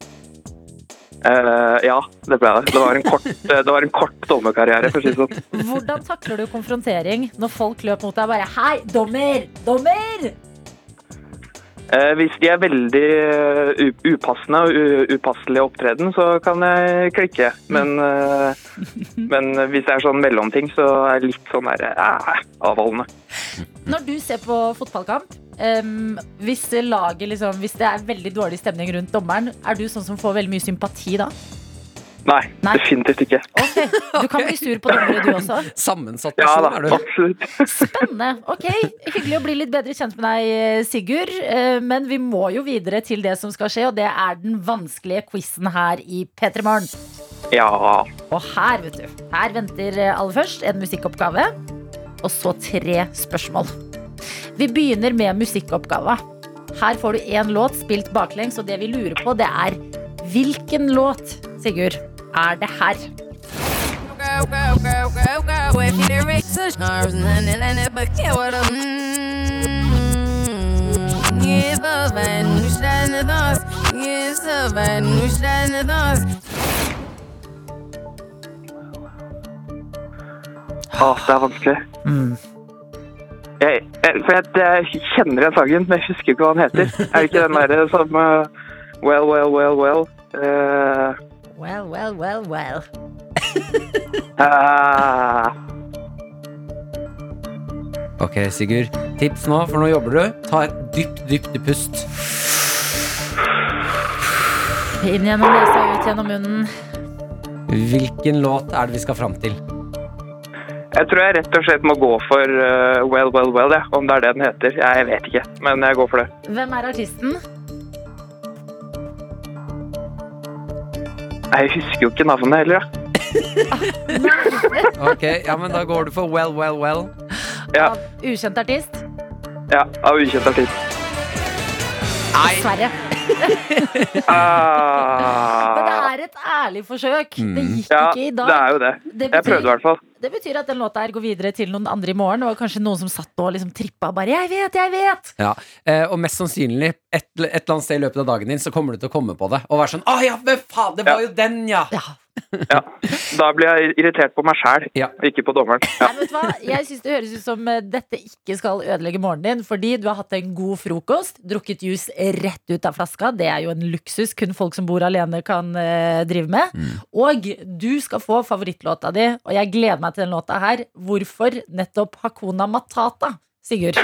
Eh, ja, det ble det. Det var en kort, eh, det var en kort dommerkarriere, for å si det sånn. Hvordan takler du konfrontering når folk løp mot deg og bare Hei, dommer! Dommer! Eh, hvis de er veldig eh, u- upassende og u- upasselig opptreden, så kan jeg klikke. Men, eh, men hvis det er sånn mellomting, så er jeg litt sånn der, eh, avholdende. Når du ser på fotballkamp, em, hvis, laget, liksom, hvis det er veldig dårlig stemning rundt dommeren, er du sånn som får veldig mye sympati da? Nei, Nei. definitivt ikke. Ok, Du kan bli sur på dommere, du også. Sammensatt Ja person da, sånn er du. absolutt. Spennende. Ok, Hyggelig å bli litt bedre kjent med deg, Sigurd. Eh, Men vi må jo videre til det som skal skje, og det er den vanskelige quizen her i P3 Morgen. Ja. Og her, vet du. Her venter eh, aller først en musikkoppgave, og så tre spørsmål. Vi begynner med musikkoppgava. Her får du én låt spilt baklengs, og det vi lurer på, det er hvilken låt, Sigurd, er det her? Åh, det er vanskelig. Mm. Jeg, jeg, for jeg, jeg kjenner igjen sangen, men jeg husker ikke hva den heter. Er det ikke den derre som eh, Well, well, well, well eh, Well, well, well, well. Eh, Ok, Sigurd. Tips nå, for nå jobber du. Ta et dypt, dypt pust. Inn gjennom nesa, ut gjennom munnen. Hvilken låt er det vi skal fram til? jeg tror jeg rett og slett må gå for eh, Well Well Well, jeg. om det er det den heter. Jeg vet ikke, men jeg går for det. Hvem er artisten? Jeg husker jo ikke navnet heller, da. Ok, ja, men Da går du for Well, Well, Well. Ja, Av ukjent artist? ja, av ukjent artist. Dessverre. Men det Ah, er et ærlig forsøk. Det gikk Mm. ja, ikke i det dag. er jo det. Det Jeg prøvde i hvert fall. Det betyr at den låta her går videre til noen andre i morgen. Og kanskje noen som satt nå og liksom trippa og bare 'jeg vet, jeg vet'. Ja, eh, Og mest sannsynlig et, et eller annet sted i løpet av dagen din Så kommer du til å komme på det og være sånn Å ja, men faen, det var jo den, ja! Ja. Ja. Da blir jeg irritert på meg sjæl, Ja. ikke på dommeren. Ja. Nei, vet du hva? Jeg syns det høres ut som eh, dette ikke skal ødelegge morgenen din, fordi du har hatt en god frokost, drukket juice rett ut av flaska. Det er jo en luksus kun folk som bor alene kan eh, drive med. Og du skal få favorittlåta di, og jeg gleder meg til den låta her. Hvorfor nettopp Hakuna Matata, Sigurd?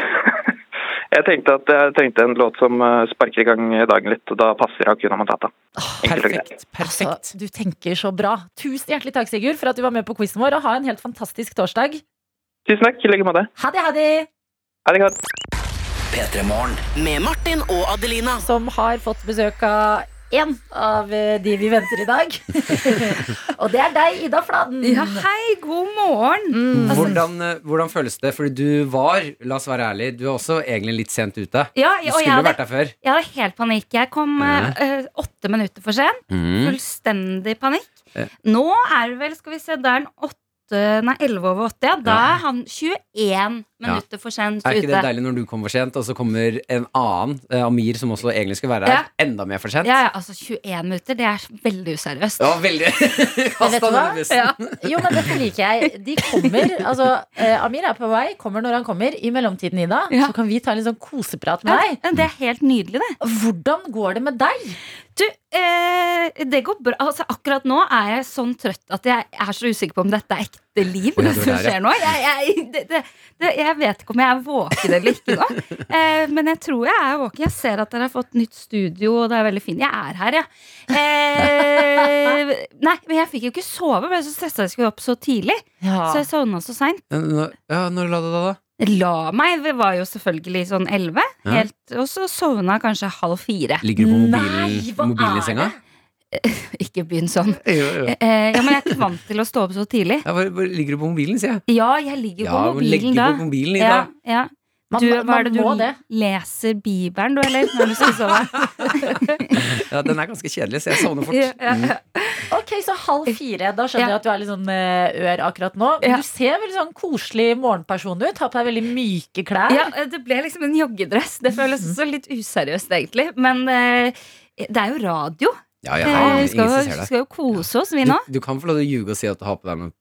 Jeg tenkte at jeg tenkte en låt som eh, sparker i gang dagen litt, og da passer Hakuna Matata. Ah, Enkelt og greit. Perfekt. perfekt Altså, du tenker så bra. Tusen hjertelig takk, Sigurd, for at du var med på quizen vår, og ha en helt fantastisk torsdag. Tusen takk. I like måte. Ha det, ha det! Ha det godt. P3-morgen. Med Martin og Adelina. som har fått besøk av én av eh, de vi venter i dag. og det er deg, Ida Fladen. Ja, hei, god morgen! Mm. hvordan, eh, hvordan føles det? Fordi du var, la oss være ærlig, du er også egentlig litt sent ute. Ja, Du og jeg skulle jo hadde, vært der før. Mm. jeg hadde helt panikk. Jeg kom eh, eh, åtte minutter for sent. Fullstendig panikk. Eh. Nå er det vel, skal vi se, da er den åtte Nei, 11 over åtte. Ja. Da Ja. er han 21 minutter for sent Er ikke ute. det deilig når du kommer for sent, og så kommer en annen, eh, Amir, som også egentlig skulle være her, Ja. enda mer for sent? Ja, ja, altså 21 minutter, det er veldig useriøst. Det var veldig vet du Kasta hva? den i bussen. Ja. Jo, men dette liker jeg. De kommer. Altså, eh, Amir er på vei, kommer når han kommer. I mellomtiden, Ida, Ja. så kan vi ta en litt sånn koseprat med Ja, deg. det er helt nydelig, det. Hvordan går det med deg? Du, eh, det går bra. Altså, akkurat nå er jeg sånn trøtt at jeg er så usikker på om dette er ekte liv. Å, ja, det du er som der, ja. skjer nå. Jeg, jeg, det, det, det, jeg vet ikke om jeg er våken eller ikke nå. Eh, men jeg tror jeg er våken. Jeg ser at dere har fått nytt studio, og det er veldig fint. Jeg er her, ja. Eh, nei, men jeg fikk jo ikke sove, men jeg var så stressa jeg skulle opp så tidlig. Så jeg sovna så seint. Ja, Eh, nå- Ja, når la du deg, da? La meg. Det var jo selvfølgelig sånn elleve. Ja. helt- Og så sovna jeg kanskje halv fire. Ligger du på Nei, mobilen, hva mobilen er i senga? Ikke begynn sånn. Jo, jo. Eh, eh, ja, men jeg er ikke vant til å stå opp så tidlig. Ja, hvor, hvor ligger du på mobilen, sier jeg. Ja, jeg ligger jo på men legger mobilen da. på mobilen i Ja, dag. ja. Man, Du, hva man er det du må det. leser Bibelen, du, eller? Når du skal sove? Ja, den er ganske kjedelig, så jeg sovner fort. Mm. Ja, ja, ja. Ok, så halv fire. Da skjønner Ja. jeg at du er litt sånn eh, ør akkurat nå. Men Ja. du ser veldig sånn koselig morgenperson ut. Har på deg veldig myke klær. ja, eh, det ble liksom en joggedress. Det føles også litt useriøst, egentlig. Men eh, det er jo radio. Ja, ja, Eh, ja, Vi skal, ingen som jo- ser deg. skal jo kose oss, vi Du, nå. du kan få lov til å ljuge og si at du har på deg noe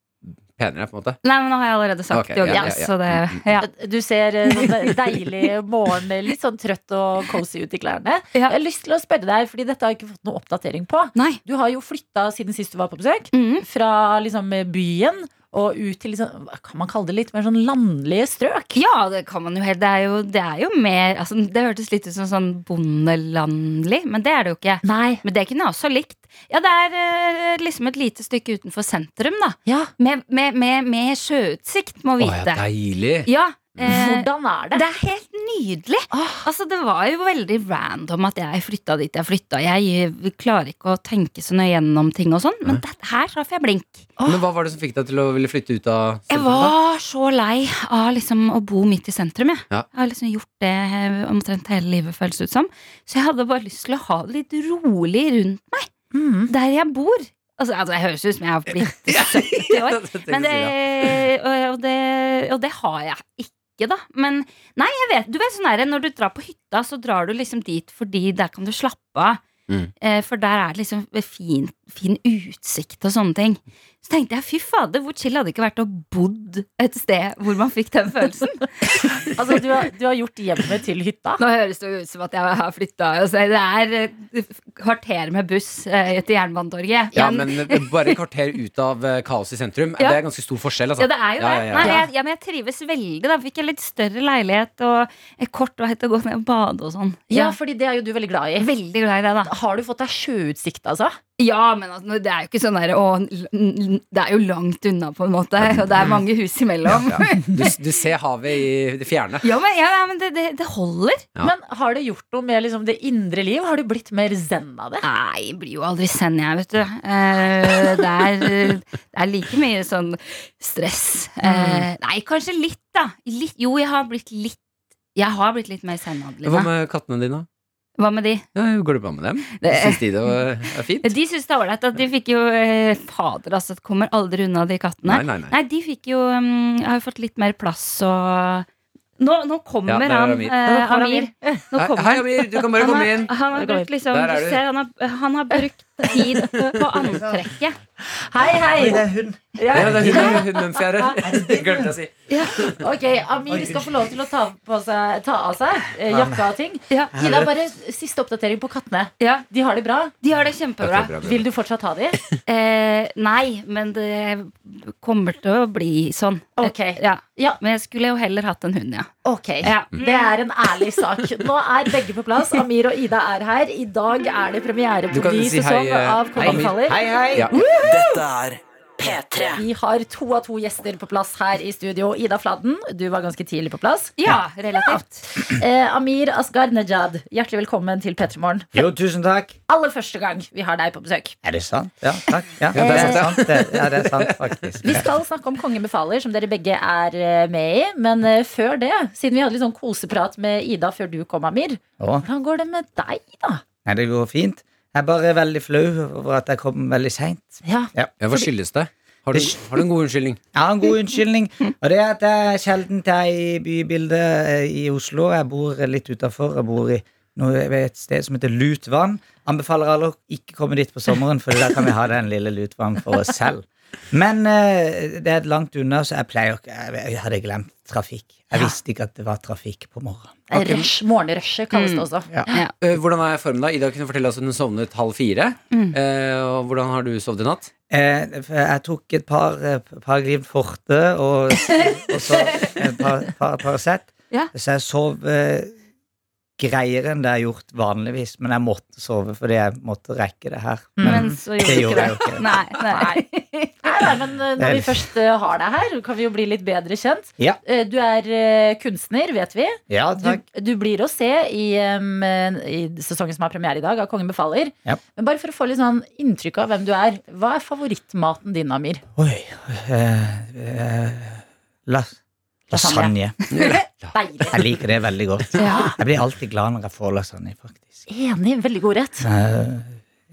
penere, på en måte. Nei, men nå har jeg allerede sagt Ok, joggedress, ja, ja, ja. så det ja. Du ser eh, sånn de- deilig morgen, eh, litt sånn trøtt og cozy ut i klærne. Ja. Jeg har lyst til å spørre deg, fordi dette har jeg ikke fått noen oppdatering på. Nei. Du har jo flytta siden sist du var på besøk, Mhm. fra liksom byen og ut til liksom, hva kan man kalle det litt mer sånn landlige strøk. Ja, det kan man jo helt. Det er jo, det er jo mer altså, Det hørtes litt ut som sånn bondelandlig, men det er det jo ikke. Nei. Men det kunne jeg også likt. Ja, det er eh, liksom et lite stykke utenfor sentrum, da. Ja. Med, med, med, med sjøutsikt, Å må ja, vite. deilig! ja, eh, Hvordan er det? det er helt nydelig. Altså, det var jo veldig random at jeg flytta dit jeg flytta. Jeg eh, klarer ikke å tenke så nøye gjennom ting og sånn, men det, her traff jeg blink. Men hva var det som fikk deg til å ville flytte ut av Ah. Jeg sentrum, da? var så lei av liksom å bo midt i sentrum. Jeg, Ja. jeg har liksom gjort det eh, omtrent hele livet, føles det ut som. Så jeg hadde bare lyst til å ha det litt rolig rundt meg, Mm. Mhm. der jeg bor. Altså, altså Jeg høres ut som jeg har blitt 70 år, men det, og, og det, og det har jeg ikke, da. Men nei, jeg vet, du vet sånn er det når du drar på hytta, så drar du liksom dit fordi der kan du slappe av. Mm. Eh, For der er det liksom fint fin utsikt og sånne ting. Så tenkte jeg fy fader, hvor chill hadde det ikke vært å bodd et sted hvor man fikk den følelsen. Altså, du har, du har gjort hjemmet til hytta. Nå høres det jo ut som at jeg har flytta. Altså, det er eh, kvarter med buss eh, til Jernbanetorget. Ja, Men- men bare et kvarter ut av eh, kaoset i sentrum. Ja. Det er ganske stor forskjell, altså. Ja, det er jo det. Ja, ja, ja. Nei, jeg, ja, men jeg trives veldig. Da fikk jeg litt større leilighet og et kort og hett å gå ned og bade og sånn. Ja, fordi det er jo du veldig glad i. Veldig glad i det, da. Har du fått deg sjøutsikt, altså? Ja, men altså, det er jo ikke sånn der å, Det er jo langt unna, på en måte. Og det er mange hus imellom. Ja, Du, du ser havet i det fjerne. men, ja, ja, men det, det, det holder. Ja. Men har det gjort noe med liksom, det indre liv? Har du blitt mer zen av det? Nei, jeg blir jo aldri send, jeg, vet du. Eh, det, er, det er like mye sånn stress. Eh, nei, kanskje litt, da. Litt, jo, jeg har blitt litt Jeg har blitt litt mer Hva sendhandlende. med kattene dine? Hva med de? Ja, går det bra med dem? Det- Syns de det var- er fint? De syns det er ålreit at de fikk jo eh, Fader, altså. det Kommer aldri unna de kattene. Nei, nei, nei. Nei, de fikk jo um, Har jo fått litt mer plass og Nå, Ja, nå kommer der er han, Amir. eh, kommer Amir. Nå Hei, kommer hei, Amir, du kan bare han, komme har, inn. han har Kom brukt liksom Der er Du du. ser, han har, han har brukt tid på antrekket. Hei, hei! Ja, det er hun med hundemfjære. Glemte jeg å si. Ok, Amir skal få lov til å ta, på seg, ta av seg eh, jakka og ting. Ja, Ida, bare siste oppdatering på kattene. ja, De har det bra. De har det Bra, kjempebra. bra, bra. Vil du fortsatt ha de? Eh, nei, men det kommer til å bli sånn. Ok. Ja. Ja. Men jeg skulle jo heller hatt en hund, ja. Ok, Det er en ærlig sak. Nå er begge på plass. Amir og Ida er her. I dag er det premiere Du på kan ny si hei, sesong eh, av Kongen Amir. faller. Ja. Dette er P3. Vi har to av to gjester på plass her i studio. Ida Fladden, du var ganske tidlig på plass. Ja, relativt. Eh, Amir Asghar Najad, hjertelig velkommen til P3 Morgen. Jo, tusen takk. Aller første gang vi har deg på besøk. Er det sant? Ja, takk. Ja, Ja, det er det er sant, det. Ja, det er sant faktisk. Vi skal snakke om Kongen befaler, som dere begge er eh, med i. Men eh, før det, siden vi hadde litt sånn koseprat med Ida før du kom, Amir. Å, Hvordan går det med deg, da? nei, det går fint. Jeg er bare veldig flau over at jeg kom veldig seint. Ja, Ja, hva skyldes det? Har du, har du en god unnskyldning? Jeg har en god unnskyldning, og det er at jeg er sjelden til jeg er i bybildet eh, i Oslo. Jeg bor litt utafor. Jeg bor i noe, ved et sted som heter Lutvann. Anbefaler alle å ikke komme dit på sommeren, for der kan vi ha den lille Lutvann for oss selv. Men eh, det er langt unna, så jeg pleier ikke jeg, jeg hadde glemt trafikk. Jeg visste ikke at det var trafikk på morgenen. rush, Morgenrushet kalles Mm, det også. Mm. Eh, Hvordan er formen da? Ida kunne fortelle oss at hun sovnet halv fire. Eh, og hvordan har du sovet i natt? Eh, for jeg tok et par, eh, par Glimt forte og, og så eh, et par, par Paracet. Ja. Så jeg sov eh, greiere enn det jeg har gjort vanligvis, men jeg måtte sove fordi jeg måtte rekke det her. Men så det gjorde du gjorde ikke jeg jo det. ikke. Nei, nei. Nei, nei, men eh, når vi først eh, har deg her, kan vi jo bli litt bedre kjent. Ja. Eh, Du er eh, kunstner, vet vi. Ja, Du, takk. du blir å se i, em, eh, i sesongen som har premiere i dag, av Kongen befaler. Ja. Men bare for å få litt sånn inntrykk av hvem du er, hva er favorittmaten din, Amir? Oi. Eh, eh, las lasagne. Deilig. Jeg liker det veldig godt. Jeg blir alltid glad når jeg får lasagne, faktisk. Enig. Veldig god rett. Eh,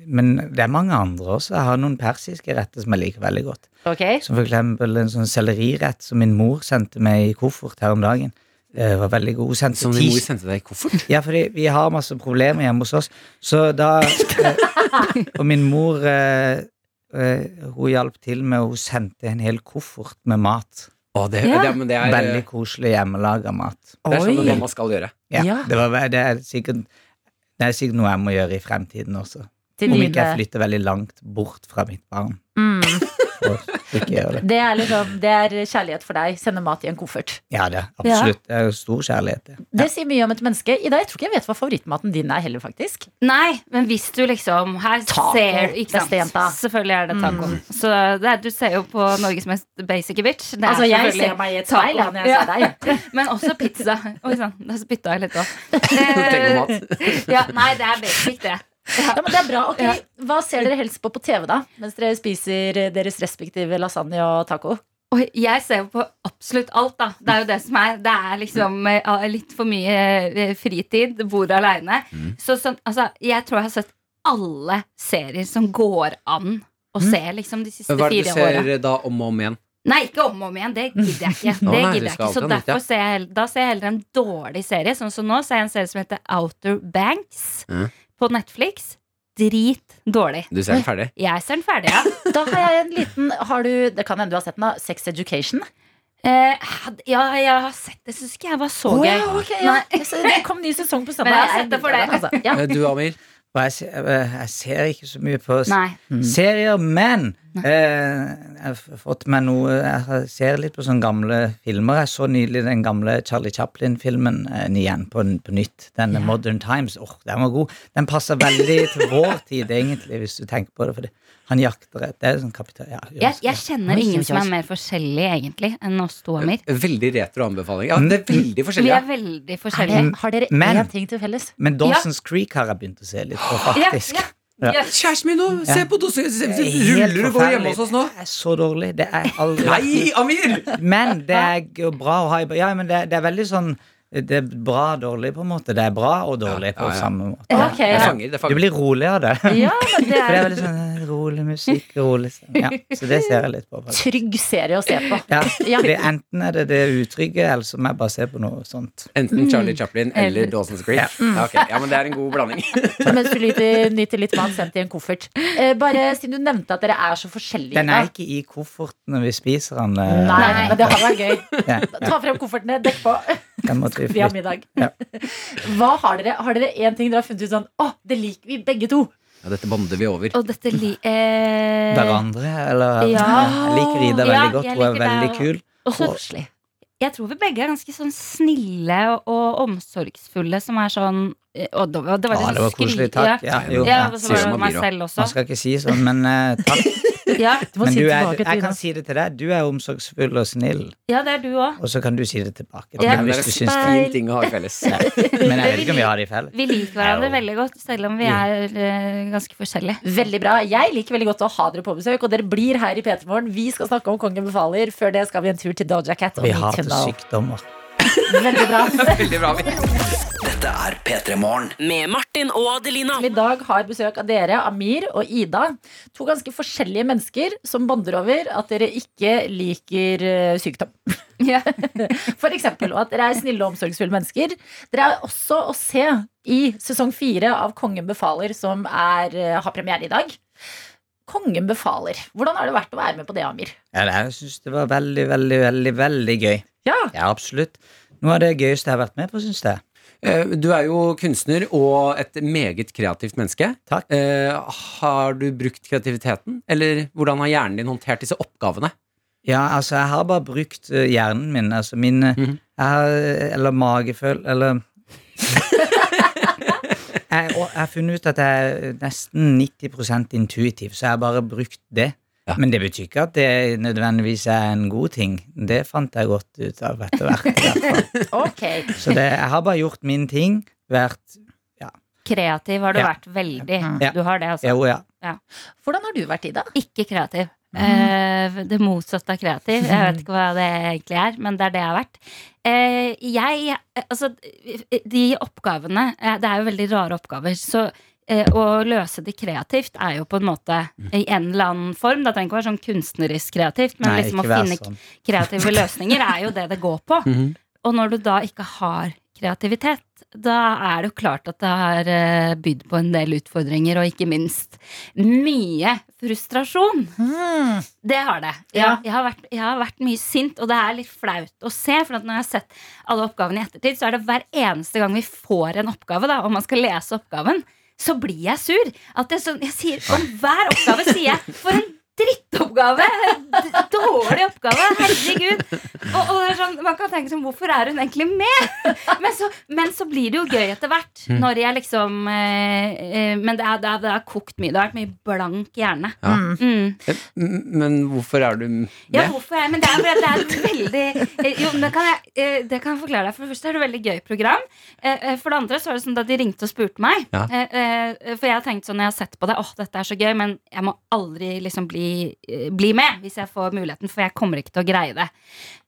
men det er mange andre også. Jeg har noen persiske retter som jeg liker veldig godt. Ok. Som for eksempel en sånn sellerirett som min mor sendte meg i koffert her om dagen. Det var veldig god. Hun sendte Som din ti- mor sendte deg i koffert? Ja, fordi vi har masse problemer hjemme hos oss. Så da eh, Og min mor eh, eh, hun hjalp til med Hun sendte en hel koffert med mat. Å, det, Ja. det, men det er, Veldig koselig hjemmelaga mat. det er sånn Oi. det mamma skal gjøre. Ja, Ja. Det, var, ve- det, er sikkert, det er sikkert noe jeg må gjøre i fremtiden også. Til Om ikke jeg dine. flytter veldig langt bort fra mitt barn. Mm. Og ikke gjør det. Det er, liksom, det er kjærlighet for deg. Sende mat i en koffert. Ja, det er absolutt. Det er jo stor kjærlighet. det. Det sier mye om et menneske. Ida, jeg tror ikke jeg vet hva favorittmaten din er heller, faktisk. Nei, men hvis du liksom Her Taco, ser ikke sant? bestejenta. Selvfølgelig er det taco. Mm. Så det er, du ser jo på Norges mest basic bitch. Det er Altså, jeg selvfølgelig ser meg i et taco. speil ja, når jeg ser deg. Ja. Men også pizza. Oi sann, der spytta jeg litt òg. Tenk om ja, nei, det er basic, det. Ja, men det er bra. Ok, Ja. Hva ser dere helst på på TV, da? Mens dere spiser eh, deres respektive lasagne og taco? Og jeg ser jo på absolutt alt, da. Det er jo det som er. Det er liksom eh, litt for mye eh, fritid, bor aleine. Så sånn, altså, jeg tror jeg har sett alle serier som går an å se, liksom, de siste Hva er det du fire åra. ser eh, da om og om igjen? Nei, ikke om og om igjen. Det gidder jeg ikke. Å, Det nei, gidder du jeg skal ikke. Så alltid ha nytt, ja. derfor ser jeg, hell- da ser jeg heller en dårlig serie. Sånn som nå ser jeg en serie som heter Outer Banks Mhm. på Netflix. dritdårlig. Du ser den ferdig? Jeg ser den ferdig, ja. Da har jeg en liten Har du, Det kan hende du har sett den, da. Sex Education. Eh, had- ja, jeg har sett det. Syns ikke jeg var så Å, gøy. ja, ok, ja. Så det kom ny sesong på søndag. Men jeg Jeg har sett det for digger deg. den, altså. Ja. Eh, Du, Amir? Og Jeg, ser- eh, jeg ser ikke så mye på s- Nei. Mm. serier, men eh, jeg har f- fått meg noe Jeg har- ser litt på sånne gamle filmer. Jeg så nylig den gamle Charlie Chaplin-filmen eh, igjen på, n- på nytt. Den Modern Times. Åh, Den var god. Den passer veldig til vår tid, egentlig, hvis du tenker på det. Fordi han jakter et Det er sånn kapital... Ja, ja, Jeg, jeg kjenner Oi, ingen oi, som oi. er mer forskjellig, egentlig, enn oss to, Amir. Veldig retro anbefaling. Mm. Ja, det er veldig Vi forskjellig. er Ja. veldig Er det, forskjellige. har dere Men- én ting til felles? Men Dawson's Creek har jeg begynt å se litt på, Ja, faktisk. ja. Ja. Ja. Kjæresten min, nå! Se Ja. på dos- se- se- Det er helt Ruller og går hjemme hos forferdelig. oss nå! Det er så dårlig. Det er aldri Nei, Amir! Men det er jo bra å ha i Ja, men det, det er veldig sånn Det er bra og dårlig, på en måte. Det er bra og dårlig på Ja, ja, ja. samme måte. Ok, Det ja. fanger. det Du fanger. blir rolig av det. Ja, men det For det er er veldig sånn eh, rolig musikk, rolig stemning. ja, Så det ser jeg litt på. faktisk. trygg serie å se på. Ja, Ja. det, enten er det det utrygge, eller så må jeg bare se på noe sånt. Enten Charlie Chaplin eller Eller- Dawson's Creek. Ja, ok. ja, men det er en god blanding. Mens du nyter, nyter litt mat sendt i en koffert. Eh, bare siden du nevnte at dere er så forskjellige. Den er ikke i kofferten når vi spiser den. eh, Nei, men det hadde vært gøy. Ja, Ta frem koffertene, dekk på. den måtte vi Vi har flytte. middag. Ja. Hva har dere? Har dere én ting dere har funnet ut sånn Å, det liker vi begge to. Ja, dette bonder vi over. Og dette li... Eh, Hverandre, eller Ja. Jeg liker Ida Ja, veldig godt. jeg Hun er liker deg veldig også. kul. Og så koselig. Jeg tror vi begge er ganske sånn snille og, og omsorgsfulle, som er sånn eh, Og det var, det var, Ja, litt det var sånn koselig. skri- Takk. Ja, Ja, jo, Ja, ja ja. og så sier var som det meg Amir også. selv Man også. skal ikke si sånn, men eh, takk. Ja, Du må Men si du er, tilbake til jeg kan Jonas. si det til deg. Du er omsorgsfull og snill, ja, det er du òg. og så kan du si det tilbake. til Ja. meg det hvis er du en syns det. fin ting å ha i felles. Men jeg vet ikke om vi har det i felles. Vi liker hverandre Ja. veldig godt, selv om vi er eh, ganske forskjellige. Veldig bra. Jeg liker veldig godt å ha dere på besøk, og dere blir her i P3 Morgen. Vi skal snakke om Kongen befaler. Før det skal vi en tur til Doja Cat. og Vi Nick hater Kendall. sykdommer. Veldig bra. Veldig bra. Amir. Dette er P3 Morgen. Med Martin og Adelina. Som i dag har besøk av dere, Amir og Ida. To ganske forskjellige mennesker som bonder over at dere ikke liker eh, sykdom. Ja. For eksempel, og at dere er snille og omsorgsfulle mennesker. Dere er også å se i sesong fire av Kongen befaler, som er, eh, har premiere i dag. Kongen befaler. Hvordan har det vært å være med på det, Amir? Ja, det- jeg syns det var veldig, veldig, veldig veldig gøy. Ja, Ja, absolutt. Noe av det gøyeste jeg har vært med på, syns jeg. Eh, Du er jo kunstner og et meget kreativt menneske. Takk. Eh, Har du brukt kreativiteten, eller hvordan har hjernen din håndtert disse oppgavene? Ja, altså, jeg har bare brukt eh, hjernen min. Altså min eh, Mhm. jeg har, Eller mageføl... Eller jeg, og jeg har funnet ut at jeg er nesten 90 intuitiv, så jeg har bare brukt det. Ja. Men det betyr ikke at det nødvendigvis er en god ting. Det fant jeg godt ut av etter hvert. i hvert fall. ok. Så det, jeg har bare gjort min ting. Vært Kreativ har du Ja. vært veldig. Ja. Du har det, altså. Jo, ja. Hvordan har du vært, Ida? Ikke kreativ. Eh, det motsatte av kreativ. Jeg vet ikke hva det egentlig er, men det er det jeg har vært. Eh, jeg, altså, de oppgavene eh, Det er jo veldig rare oppgaver. Så eh, å løse de kreativt er jo på en måte i en eller annen form. Det trenger ikke å være sånn kunstnerisk kreativt, men Nei, liksom å ikke vær finne sånn. kreative løsninger er jo det det går på. Mhm. Og når du da ikke har kreativitet, da er det jo klart at det har eh, bydd på en del utfordringer, og ikke minst mye frustrasjon. Det har det. Ja, Ja. jeg, har vært, jeg har vært mye sint, og det er litt flaut å se. For at når jeg har sett alle oppgavene i ettertid, så er det hver eneste gang vi får en oppgave, da, og man skal lese oppgaven, så blir jeg sur. At det er sånn, jeg sier, om hver oppgave sier jeg For en drittoppgave! En d- Dårlig oppgave! Herregud! Og, og det er sånn, man kan tenke sånn, hvorfor er hun egentlig med? Men så, men så blir det jo gøy etter hvert. Når jeg liksom eh, eh, Men det er- det er- det har kokt mye. Det har vært mye blank hjerne. Ja. Mm. Eh, m- Men hvorfor er du med? Ja, hvorfor jeg? Men det er, bare- det er et veldig eh, Jo, men det kan, jeg, eh, det kan jeg forklare deg. For det første er det et veldig gøy program. Eh, eh, For det andre så var det sånn da de ringte og spurte meg Ja. eh, eh, For jeg tenkte sånn når jeg har sett på det, åh, dette er så gøy, men jeg må aldri liksom bli, eh, bli med hvis jeg får muligheten, for jeg kommer ikke til å greie det.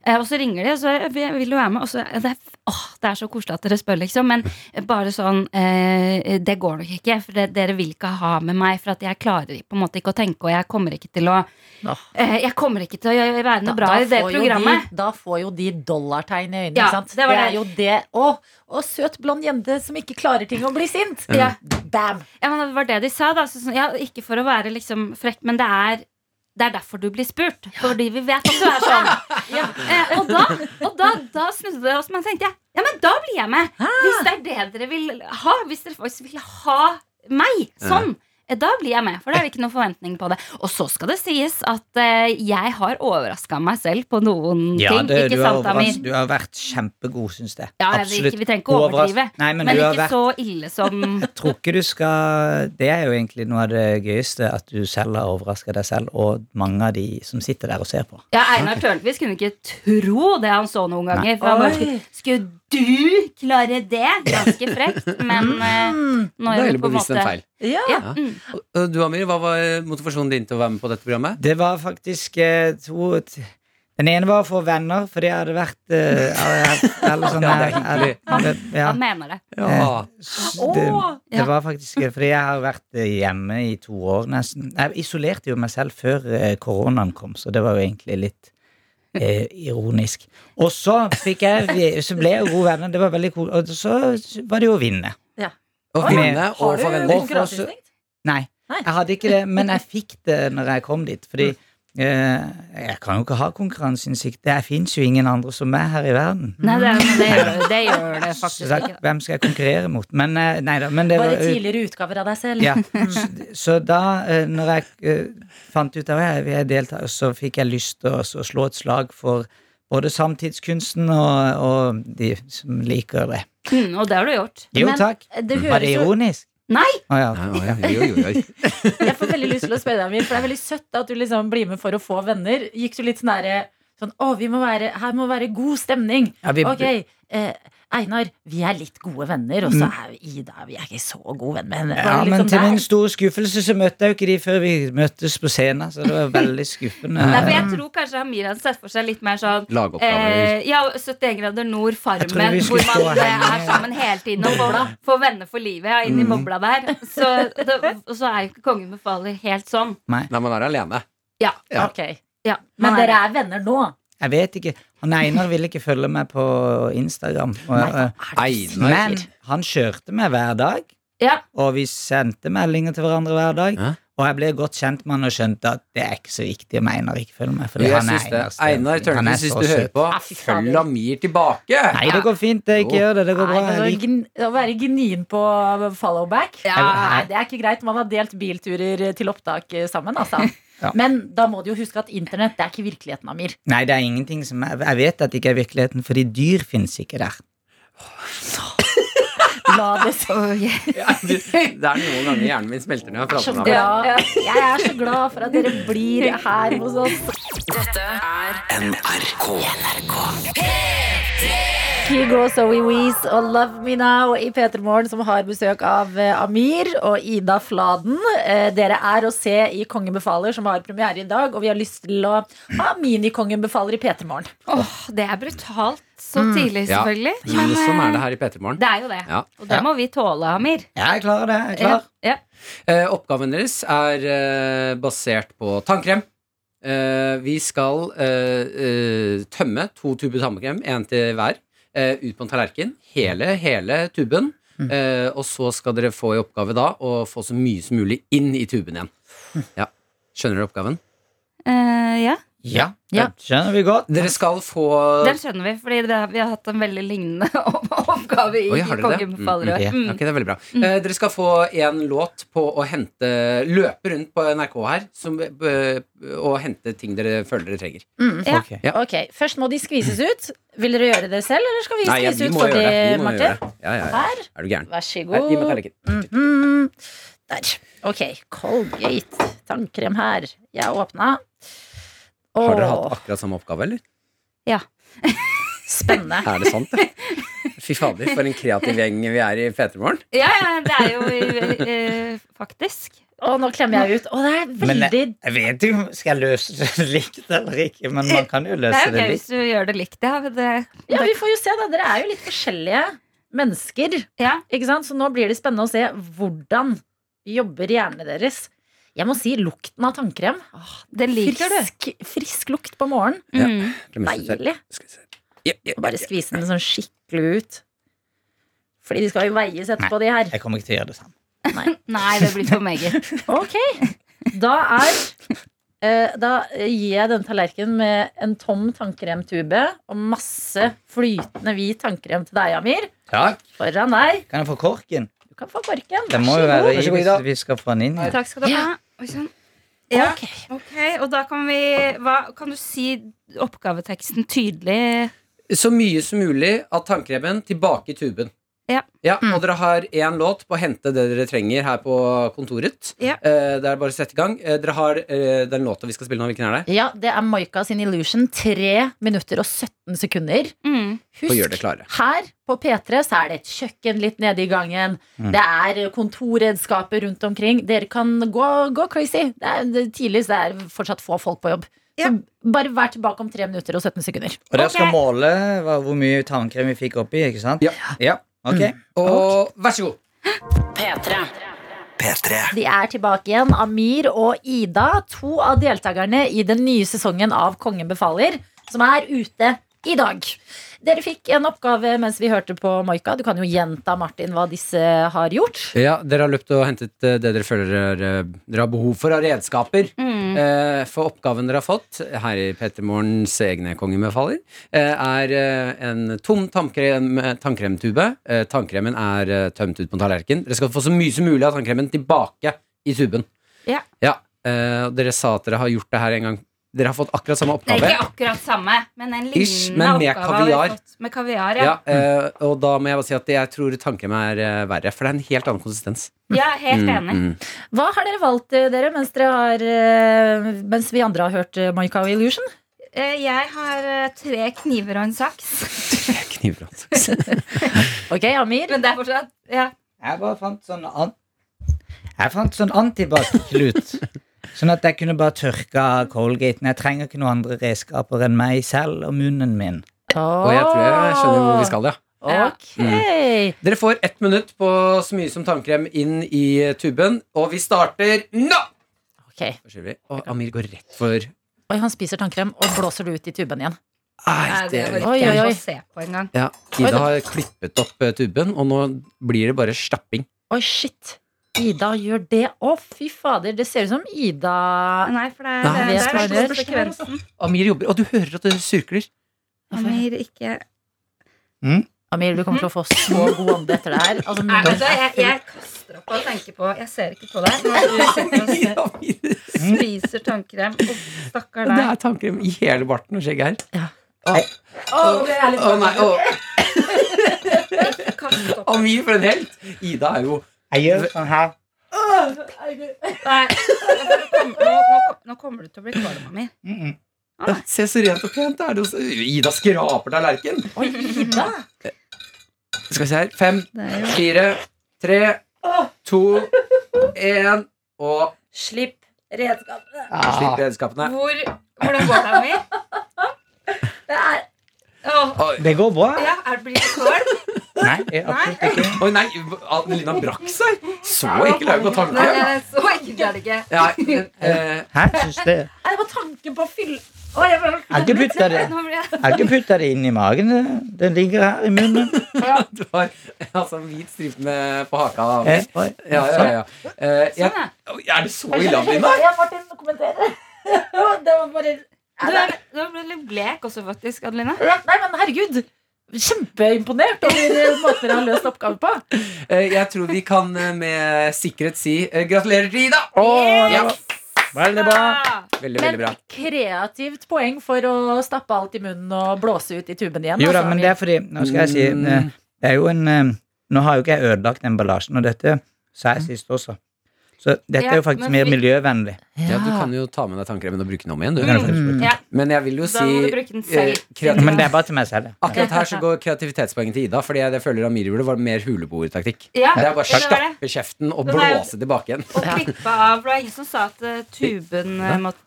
Eh, Og så ringer de, og så eh, vil vil du være med. Og så, eh, det, er, åh, det er så koselig at dere spør, liksom. Men bare sånn eh, Det går nok ikke, for det, dere vil ikke ha med meg. For at jeg klarer på en måte ikke å tenke, og jeg kommer ikke til å eh, Jeg kommer ikke til å gjøre- være noe bra i det får jo programmet. De, da får jo de dollartegn i øynene. Ja, ikke sant? det var det. er jo det. Å, å, søt blond jente som ikke klarer ting og blir sint. Ja. Bam! Ja, men det var det de sa, da. Så, sånn, ja, ikke for å være liksom frekk, men det er det er derfor du blir spurt. Fordi vi vet at du er sånn. Ja. Eh, og da, og da, da snudde det oss, men tenkte jeg ja, men da blir jeg med. Hvis det er det dere vil ha. Hvis dere faktisk vil ha meg sånn. eh, Da blir jeg med, for da er det ikke noen forventning på det. Og så skal det sies at eh, jeg har overraska meg selv på noen Ja, ting. det, du, ikke har sant, Amir? overras- du har vært kjempegod, syns jeg. Ja, jeg vil Absolutt. ikke, vi trenger ikke Overras- overdrive. Nei, men, men du har ikke vært så ille som tror ikke du skal Det er jo egentlig noe av det gøyeste, at du selv har overraska deg selv, og mange av de som sitter der og ser på. Ja, Einar Tørnquist kunne ikke tro det han så noen ganger. For han Oi. bare, skulle, skulle du klare det? Ganske frekt, men eh, Mm. nå Da er er det det på en bevisst en måte feil. Ja. mm. Og Du, Amir, hva var motivasjonen din til å være med på dette programmet? Det var faktisk eh, to t- Den ene var å få venner, for det hadde vært eh, alle- Alle sånne Ja, det er alle- alle- ja. Han mener det. Eh, s- Det, Åh, ja. det var faktisk eh, Fordi jeg har vært eh, hjemme i to år nesten. Jeg isolerte jo meg selv før eh, koronaen kom, så det var jo egentlig litt eh, ironisk. Og så fikk jeg vi- Så ble jeg jo gode venner. Det var veldig cool. Og så var det jo å vinne. Ja. Å Oi. vinne Har og du få venner. Konkurranseinstinkt? Nei, Nei. jeg hadde ikke det, men jeg fikk det når jeg kom dit. Fordi eh, jeg kan jo ikke ha konkurranseinnsikt. Det fins jo ingen andre som meg her i verden. Nei, det, Mm. det, gjør, det gjør det Så faktisk sagt, ikke. hvem skal jeg konkurrere mot? Men eh, nei da. Men det Bare var, tidligere utgaver av deg selv. ja. så, så da, eh, når jeg eh, fant ut av det, jeg vil delta, så fikk jeg lyst til å så slå et slag for både samtidskunsten og, og de som liker det. Mm, og det har du gjort. Jo, Men takk. det Var det høres jo- ironisk? Nei! Å ja. Ja, ja, jo, jo, jo. Jeg får veldig lyst til å spørre deg, Amir, for det er veldig søtt at du liksom blir med for å få venner. Gikk du litt sånn derre sånn, Å, vi må være, her må være god stemning. Ja, vi- ok, eh, Einar, vi er litt gode venner, og så er jo Ida Vi er ikke så gode venn med henne. Mm. Ja, Var det litt men liksom sånn til der? min store skuffelse så møtte jeg jo ikke de før vi møttes på scenen, så det var veldig skuffende. Nei, for jeg tror kanskje Amir hadde sett for seg litt mer sånn Lagoppgaver. eh, Ja, 71 grader nord, Jeg tror Farmen, vi hvor skulle stå man eh, her. er sammen hele tiden og får, får venner for livet. Ja, Mm. inn i bobla der. Så, det, og så er jo ikke Kongen befaler helt sånn. Nei, man er alene. Ja. Ja. Ok. ja Men man er- dere er venner nå? Jeg vet ikke. Han Einar ville ikke følge meg på Instagram. Og, Einar. men han kjørte meg hver dag, Ja. og vi sendte meldinger til hverandre hver dag. Ja. Og jeg ble godt kjent med han og skjønte at det er ikke så viktig om Einar ikke følger meg. Fordi Jeg han er syns det. Einar Stensen. Einar Han er Tørnquist, hvis så du hører søt. på, Ja, Ah, fy fader. følg Amir tilbake! Nei, det går fint. Det. Jo. Ikke gjør det. Det går Nei, bra. men Jeg å liker gn- å være gnien på followback, Ja. Nei, det er ikke greit. Man har delt bilturer til opptak eh, sammen, altså. Ja. Men da må du jo huske at internett det er ikke virkeligheten, Amir. Nei, det er ingenting som er, Jeg vet at det ikke er virkeligheten, fordi dyr finnes ikke der. La det så Ja, du, det er noen ganger hjernen min smelter når jeg så prater med Amir. glad. Jeg er så glad for at dere blir her hos oss. NRK. Kygo, Zoe Weeze og Love Me Now i P3 Morgen, som har besøk av eh, Amir og Ida Fladen. Eh, Dere er å se i Kongen befaler, som har premiere i dag, og vi har lyst til å ha mini-Kongen befaler i P3 Morgen. Åh, det er brutalt så tidlig, Ja. selvfølgelig. Men sånn er det eh, her i P3 Morgen. det er jo det. Ja. Og det må vi tåle, Amir. Jeg klarer det. Jeg er klar. Ja. Eh, oppgaven deres er eh, basert på tannkrem. Eh, vi skal eh, eh, tømme to tuber tannkrem, én til hver, eh, ut på en tallerken. Hele, hele tuben. Mm. Eh, og så skal dere få i oppgave da å få så mye som mulig inn i tuben igjen. Mm. Ja. Skjønner dere oppgaven? Eh, ja. Ja, Ja. det skjønner vi godt. Dere skal få Den skjønner vi, fordi det, vi har hatt en veldig lignende oppgave i Oi, har dere det? Kongen befaler. Mm, ja. Mm. Ok, det er veldig bra. Eh, dere skal få en låt på å hente Løpe rundt på NRK her som, eh, og hente ting dere føler dere trenger. Ja. Ok. Ok, Først må de skvises ut. Vil dere gjøre det selv, eller skal vi Nei, ja, skvise vi ut må for gjøre det. de, Vi må gjøre Marte? det. Ja, ja, ja. Her. Er du gæren? Vær så Nei, gi meg god. tallerken. Mm. Mhm. Der. Ok. Colgate tannkrem her. Jeg åpna. Har dere hatt Åh, akkurat samme oppgave, eller? spennende. Er det sant? det? Fy fader, for en kreativ gjeng vi er i P3 Morgen. ja, ja, det er jo eh, eh, faktisk Å, nå klemmer jeg ut. Å, det er Men eh, veldig jeg, jeg vet jo om skal jeg løse det likt eller ikke, men man kan jo Det løse er jo det gøy hvis likt. du gjør det likt. Ja, men det, Ja, vi får jo se, da. Dere er jo litt forskjellige mennesker. Ikke sant? Så nå blir det spennende å se hvordan jobber hjernen deres. Jeg må si lukten av tannkrem. Åh, det liker du. frisk, frisk lukt på morgenen. Ja, Mm. Deilig. Ja, ja, Og Bare skvise den sånn skikkelig ut. Fordi de skal jo veies etterpå, de her. Jeg kommer ikke til å gjøre det samme. Nei, det blir for meget. Ok, da er eh, Da gir jeg denne tallerkenen med en tom tannkremtube og masse flytende hvit tannkrem til deg, Amir. Takk. Foran deg. Kan jeg få korken? Du kan få korken. Det må jo være i hvis vi skal få den inn. her. Takk skal du ha. Oi, sånn. Ja, ok, Og da kan vi hva, Kan du si oppgaveteksten tydelig? Så mye som mulig av tannkremen tilbake i tuben. Ja. Mm. Og dere har én låt på å hente det dere trenger her på kontoret. Ja. Eh, det er bare å sette i gang. Eh, dere har eh, den låta vi skal spille nå. Hvilken er det? Ja, det er Maika sin Illusion. 3 minutter og 17 sekunder. Og gjør det klare. Her på P3 så er det et kjøkken litt nede i gangen. Mm. Det er kontorredskaper rundt omkring. Dere kan gå, gå crazy. Det er, det, tidlig så er det fortsatt få folk på jobb. Så bare vær tilbake om 3 minutter og 17 sekunder. Og dere skal måle hva, hvor mye tannkrem vi fikk oppi, ikke sant? Ja. Ok. Og vær så god. P3. De er tilbake igjen, Amir og Ida. To av deltakerne i den nye sesongen av Kongen befaler, som er ute i dag. Dere fikk en oppgave mens vi hørte på Maika. Du kan jo gjenta, Martin, hva disse har gjort. Ja, dere har løpt og hentet eh, det dere føler dere, dere har behov for av redskaper. Mm. Eh, for oppgaven dere har fått, her i Petter Morgens egne kongebefaler, eh, er eh, en tom tannkrem, eh, tannkremtube. Eh, tannkremen er eh, tømt ut på en tallerken. Dere skal få så mye som mulig av tannkremen tilbake i tuben. Ja. Ja, eh, og dere sa at dere har gjort det her en gang. Dere har fått akkurat samme Det er oppgave. ikke akkurat samme, men en lignende Ish, men med oppgave har vi kaviar. fått Med kaviar, ja. Ja, eh, og da må jeg bare si at jeg tror tannkrem er eh, verre, for det er en helt annen konsistens. Ja, helt Mm, enig. mm. Hva har dere valgt, eh, dere, mens, dere har, eh, mens vi andre har hørt eh, Maika og Illusion? Eh, Jeg har eh, tre kniver og en saks. altså. ok, Amir. Men det er fortsatt ja. Jeg bare fant sånn an... Jeg fant sånn antibac-klut. Sånn at jeg kunne bare tørke av Colgaten. Jeg trenger ikke noen andre redskaper enn meg selv og munnen min. Og jeg tror jeg skjønner hvor vi skal, ja. Mm. Ok. Dere får ett minutt på så mye som tannkrem inn i eh, tuben, og vi starter nå! Ok. Da skyver vi. Og Amir går rett for Oi, han spiser tannkrem og blåser det ut i tuben igjen. Nei, det orker Oi, oi, jeg ikke oi. å se på engang. Ja, Ida har klippet opp eh, tuben, og nå blir det bare stapping. Oi, shit. Ida gjør det. Å, fy fader. Det ser ut som Ida Nei, for det Nei, er, det jeg er, skal det er gjøre det. konsekvensen. Amir jobber, og du hører at det surkler. Amir ikke Amir, du kommer til å få Mhm. så god ånde etter det her. Altså, Nei, vet du, munnen jeg, er jeg kaster opp og tenker på Jeg ser ikke på deg. Når du sitter og ser- spiser tannkrem. Å, stakkar Det deg. er tannkrem i hele barten og skjegget her. Å, det er litt Å, nei, å, Kast opp. Amir for en helt! Ida er jo Jeg gjør sånn her. Nei, nå, kommer- nå, nå kommer du til å bli kvalm av meg. Ja, Se så rent og pent det er. det hos- Ida skraper tallerken. full. Oi, Ida. Skal vi se her. Fem, er jo- fire, tre, to, én, og Slipp redskapene. Ah. slipp redskapene. Hvor, hvordan går det av meg? Det er Å, Det går bra. ja, er, blir du kvalm? Nei, jeg- absolutt ikke. Oi, nei, Adelina brakk seg! Så ekkel er hun på Nei, tanken. eh, så ekkelt er det ikke. Ja, eh, Hæ? Syns det? Jeg Nei, det var tanken på å fylle Å, jeg bare har ikke putta det. Nå blir jeg Jeg har ikke putta det inn i magen. det- Den ligger her i munnen. du har altså, en hvit stripe med- på haka. Da. Eh, oi. Ja, ja, ja, ja. Eh, jeg, Oi, er det så ille, Adelina? Ja, Martin, kommentere. Det var bare Du er, du er litt blek også, faktisk, Nei, Adeline. men herregud. Kjempeimponert over måten dere har løst oppgaven på. Eh, jeg tror vi kan eh, med sikkerhet si eh, gratulerer til Ida! Ja, Veldig bra. veldig, Men veldig bra. kreativt poeng for å stappe alt i munnen og blåse ut i tuben igjen. Jo da, altså, men det er fordi Nå skal jeg si Mm. eh, Det er jo en eh, Nå har jo ikke jeg ødelagt emballasjen, og dette sa jeg sist også. Så dette Ja, er jo faktisk men mer vi- miljøvennlig. Ja, Ja. Du kan jo ta med deg tannkremen og bruke den om igjen, du. Mm. Ja. Men jeg vil jo Da si må du bruke den selv. eh, kreativ- Men det er bare til meg selv. Akkurat her så går kreativitetspoenget til Ida, Fordi jeg, jeg føler Amirhjul var mer huleboertaktikk. Ja, det er bare å det var stappe det. kjeften og Den er- blåse tilbake igjen. Og klippe av. Det var ingen som sa at eh, tuben eh, måtte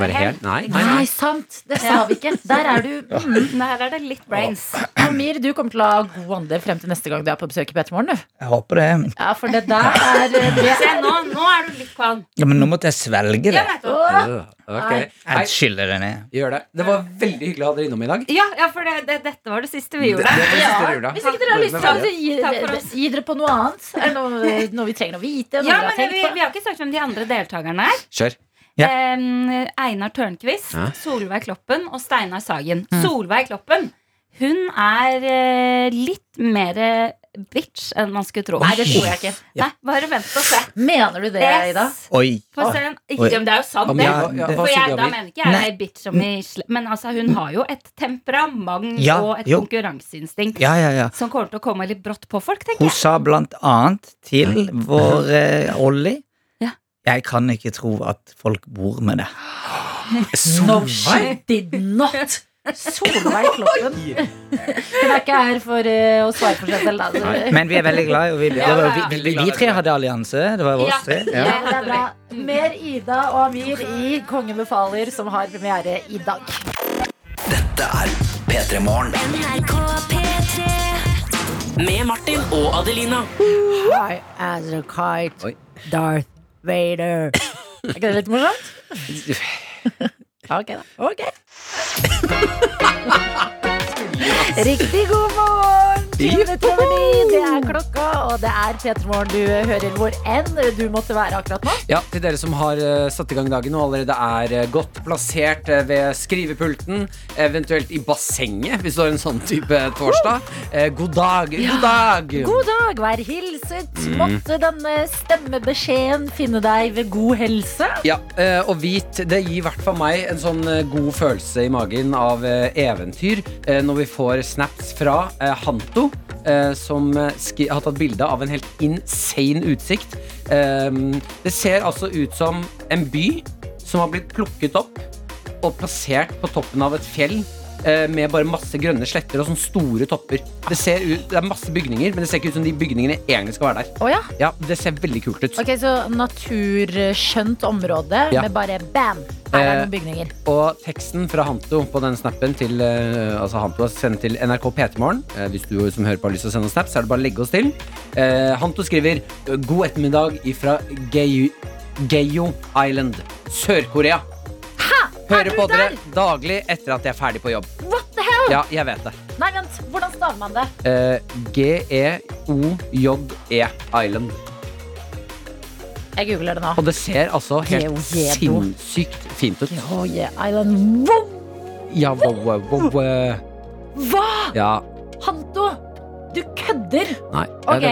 Være helt. helt? Nei, nei, Nei, sant! Det sa vi ikke. Der er du. Mm. Der er det litt brains. Amir, du kommer til å ha god ånde frem til neste gang du er på besøk i Petermorgen, du. Jeg håper det. Ja, for det der er eh, Se, det. nå, nå er du litt kvalm. Ja, men nå måtte jeg svelge det. Ja, nettopp. Øh, ok. Nei, Jeg skyller det ned. gjør det. Det var veldig hyggelig å ha dere innom i dag. ja, ja, for det, det, dette var det siste vi gjorde. Det var siste jula. Hvis ikke dere har lyst til å gi, Takk for oss. gi dere på noe annet, er det noe, noe vi trenger å vite, noe Ja, dere har men vi, tenkt på vi har ikke sagt hvem de andre deltakerne er. Kjør. Ja. Eh, Einar Tørnquist, Ja. Solveig Kloppen og Steinar Sagen. Mm. Solveig Kloppen hun er eh, litt mer eh, bitch enn man skulle tro. Nei, det tror jeg ikke. Nei, bare vent og se. Mener du det, Yes. Ida? Oi. Få se en- Ikke, men det er jo sant, Om det. jeg- ja, hva For sier jeg, du, da Amir? mener ikke jeg bitch som i slem, men altså, hun har jo et temperament Ja, og et jo. konkurranseinstinkt Ja, ja, ja. som kommer til å komme litt brått på folk, tenker Hun jeg. sa blant annet til vår eh, Olli Ja. Jeg kan ikke tro at folk bor med det. No, she did not! Solveig Kloppen. Hun er ikke her for eh, å svare for seg selv, da. Nei. Men vi er veldig glad i og vi, det var- vi, vi, vi tre hadde allianse. Det var Ja. oss tre. Ja. Ja, det er bra. Mer Ida og Amir i Kongen befaler, som har premiere i dag. Dette er P3 Morgen. NRK P3 Med Martin og Adelina. High as a kite, Oi. Darth Vader. Er ikke det litt morsomt? Ok, da. Ok. Riktig god morgen! 10 minutter over ni. Det er klokka, og det er P3 Morgen du hører hvor enn du måtte være akkurat nå. Ja, til dere som har eh, satt i gang dagen og allerede er eh, godt plassert eh, ved skrivepulten, eventuelt i bassenget hvis du har en sånn type torsdag. Eh, god dag! God dag! God dag, vær hilset. Måtte denne stemmebeskjeden finne deg ved god helse. Ja, eh, og hvit, det gir i hvert fall meg en sånn eh, god følelse i magen av eh, eventyr eh, når vi får snaps fra eh, Hanto, eh, som eh, skri- har tatt bilde av en helt insane utsikt. Eh, Det ser altså ut som en by som har blitt plukket opp og plassert på toppen av et fjell. eh, Med bare masse grønne sletter og sånne store topper. Det, ser ut, det er masse bygninger, men det ser ikke ut som de bygningene egentlig skal være der. Å ja. Ja, Det ser veldig kult ut. Ok, Så naturskjønt område Ja. med bare bam! Her er Eh, noen bygninger. Og teksten fra Hanto på den snappen til, eh, altså Hanto har sendt til NRK P3morgen. Eh, hvis du som hører på har lyst til å sende oss snap, så er det bare å legge oss til. Eh, Hanto skriver God ettermiddag ifra Geu- Geio Island, Sør-Korea. Hører du på dere der? daglig etter at jeg er ferdig på jobb. What the hell? Ja, jeg vet det. Nei, vent. Hvordan staver man det? Eh, G-e-o-j-e Island. Jeg googler det nå. Og det ser altså helt Geojedo. sinnssykt fint ut. Oh, yeah, Island. Wow! Ja, wow, wow, wow. eh. Hva?! Ja, Hanto, du kødder! nei. Ok,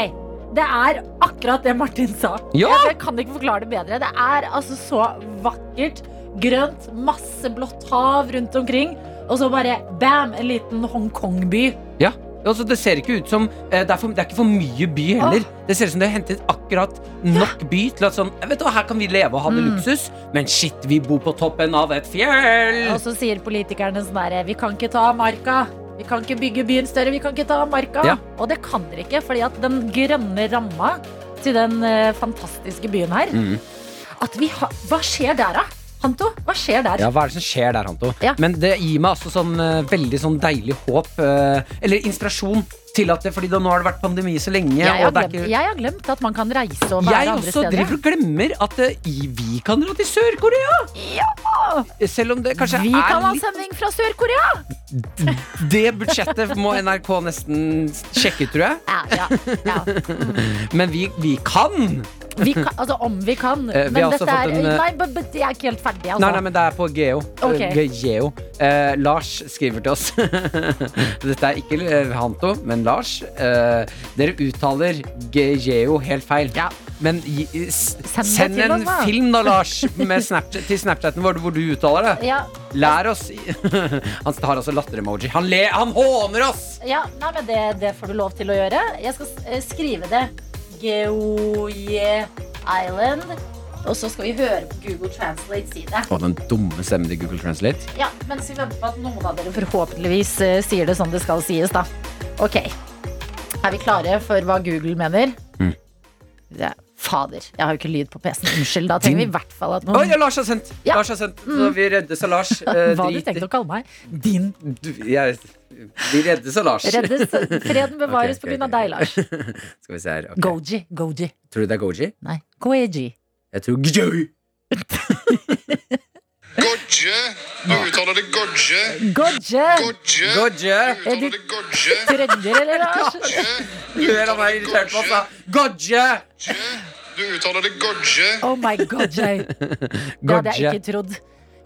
det er akkurat det Martin sa. Ja! Jeg, jeg kan ikke forklare det bedre. Det er altså så vakkert. Grønt, masse blått hav rundt omkring. Og så bare bam, en liten Hongkong-by. Ja, altså det ser ikke ut som eh, det, er for, det er ikke for mye by heller. Ah. Det ser ut som de har hentet akkurat nok by til at sånn Vet du hva, her kan vi leve og ha det Mm. luksus, men shit, vi bor på toppen av et fjell! Og så sier politikerne sånn derre Vi kan ikke ta marka. Vi kan ikke bygge byen større. Vi kan ikke ta marka. Ja. Og det kan dere ikke, fordi at den grønne ramma til den eh, fantastiske byen her Mm. At vi har Hva skjer der, da? Hanto, hva skjer der? Ja, hva er det som skjer der, Hanto? Ja. Men det gir meg altså sånn eh, veldig sånn deilig håp, eh, eller inspirasjon, til at det Fordi da, nå har det vært pandemi så lenge, Jeg, har og det er glemt, ikke jeg har glemt at man kan reise og være jeg andre også steder. driver og glemmer at eh, i- vi kan dra til Sør-Korea! Selv om det kanskje Vi er kan ha litt sending fra Sør-Korea! Det budsjettet må NRK nesten sjekke, tror jeg. Ja, ja, ja. Men vi, vi kan! Vi kan, altså, om vi kan. Eh, vi men har også dette er fått en, eh, Nei, but, but, jeg er ikke helt ferdig, altså. Nei, nei, men det er på Geo. Ok. Eh, Geo. Eh, Lars skriver til oss. Dette er ikke eh, Hanto, men Lars. Eh, dere uttaler Geo helt feil. Ja. Men gi- eh, s det send, til en oss, da. film da, Lars, med Snapchat, til Snapchaten vår hvor du uttaler det. ja, Lær oss Han har altså latter-emoji. Han, le- han håner oss! ja, nei, men det, det får du lov til å gjøre. Jeg skal eh, skrive det. Geoje Island Og så skal vi høre på Google Translate si det. Å, den dumme stemmen til Google Translate. Ja, mens vi venter på at noen av dere forhåpentligvis eh, sier det som det skal sies, da. Ok. Er vi klare for hva Google mener? Mm. Det er, fader, jeg har jo ikke lyd på PC-en. Unnskyld. Da trenger vi i hvert fall at Oi, ja, noen Lars har sendt! Lars har sendt. Så vi reddes av Lars. Eh, Mm. Hva hadde du drit- tenkt å kalle meg? Din Du, jeg, vi reddes av Lars. reddes. Freden bevares Ok, på grunn av ok, deg, Lars. ok. Skal vi se her. ok. Goji. Goji. Tror du det er Goji? Nei, Goeji. Jeg tror Goji. Godje. Du uttaler det godje. Godje. Godje. Godje. Er du trønder, eller, Lars? Hør han er irritert på oss, da. Godje! Du uttaler det godje. Oh my Godje. Det hadde jeg ikke trodd.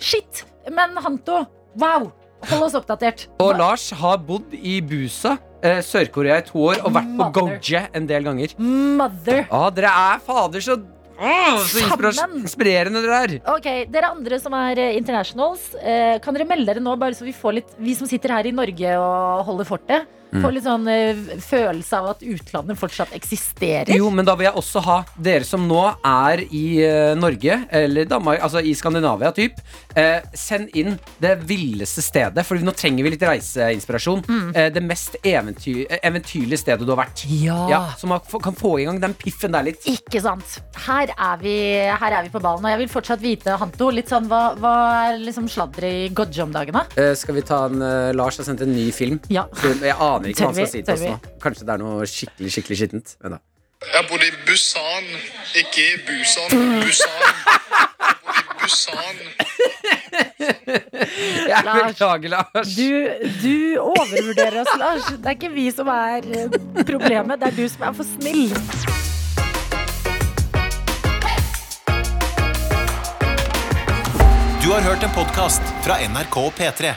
Shit! Men Hanto, wow! Hold oss oppdatert. Og Lars har bodd i Busa, eh, Sør-Korea, i to år og vært på Mother. Goje en del ganger. Mother. Ja, dere er fader så, Åh, så inspiras- Sammen. inspirerende dere er. Ok, Dere andre som er eh, internationals, eh, kan dere melde dere nå, bare så vi får litt Vi som sitter her i Norge og holder fortet, Mm. får litt sånn eh, følelse av at utlandet fortsatt eksisterer. Jo, men da vil jeg også ha dere som nå er i eh, Norge, eller Danmark, altså i Skandinavia typ, eh, send inn det villeste stedet, for nå trenger vi litt reiseinspirasjon. Mm. Eh, det mest eventyr, eh, eventyrlige stedet du har vært. Ja. som har, kan få i gang den piffen der litt. Ikke sant. Her er, vi, her er vi på ballen. Og jeg vil fortsatt vite, Hanto, litt sånn, hva, hva er liksom sladderet i Godje om dagen, da? Eh, skal vi ta en eh, Lars har sendt en ny film. Ja. Så jeg aner ikke hva han Tør vi? skal si til oss Tør vi? nå. Kanskje det er noe skikkelig skikkelig skittent. Vent da. Jeg bodde i Busan, ikke i Busan. Busan. Jeg bodde i Busan. Jeg beklager, Lars. Du, du overvurderer oss, Lars. Det er ikke vi som er eh, problemet, det er du som er for snill. Du har hørt en podcast fra NRK P3.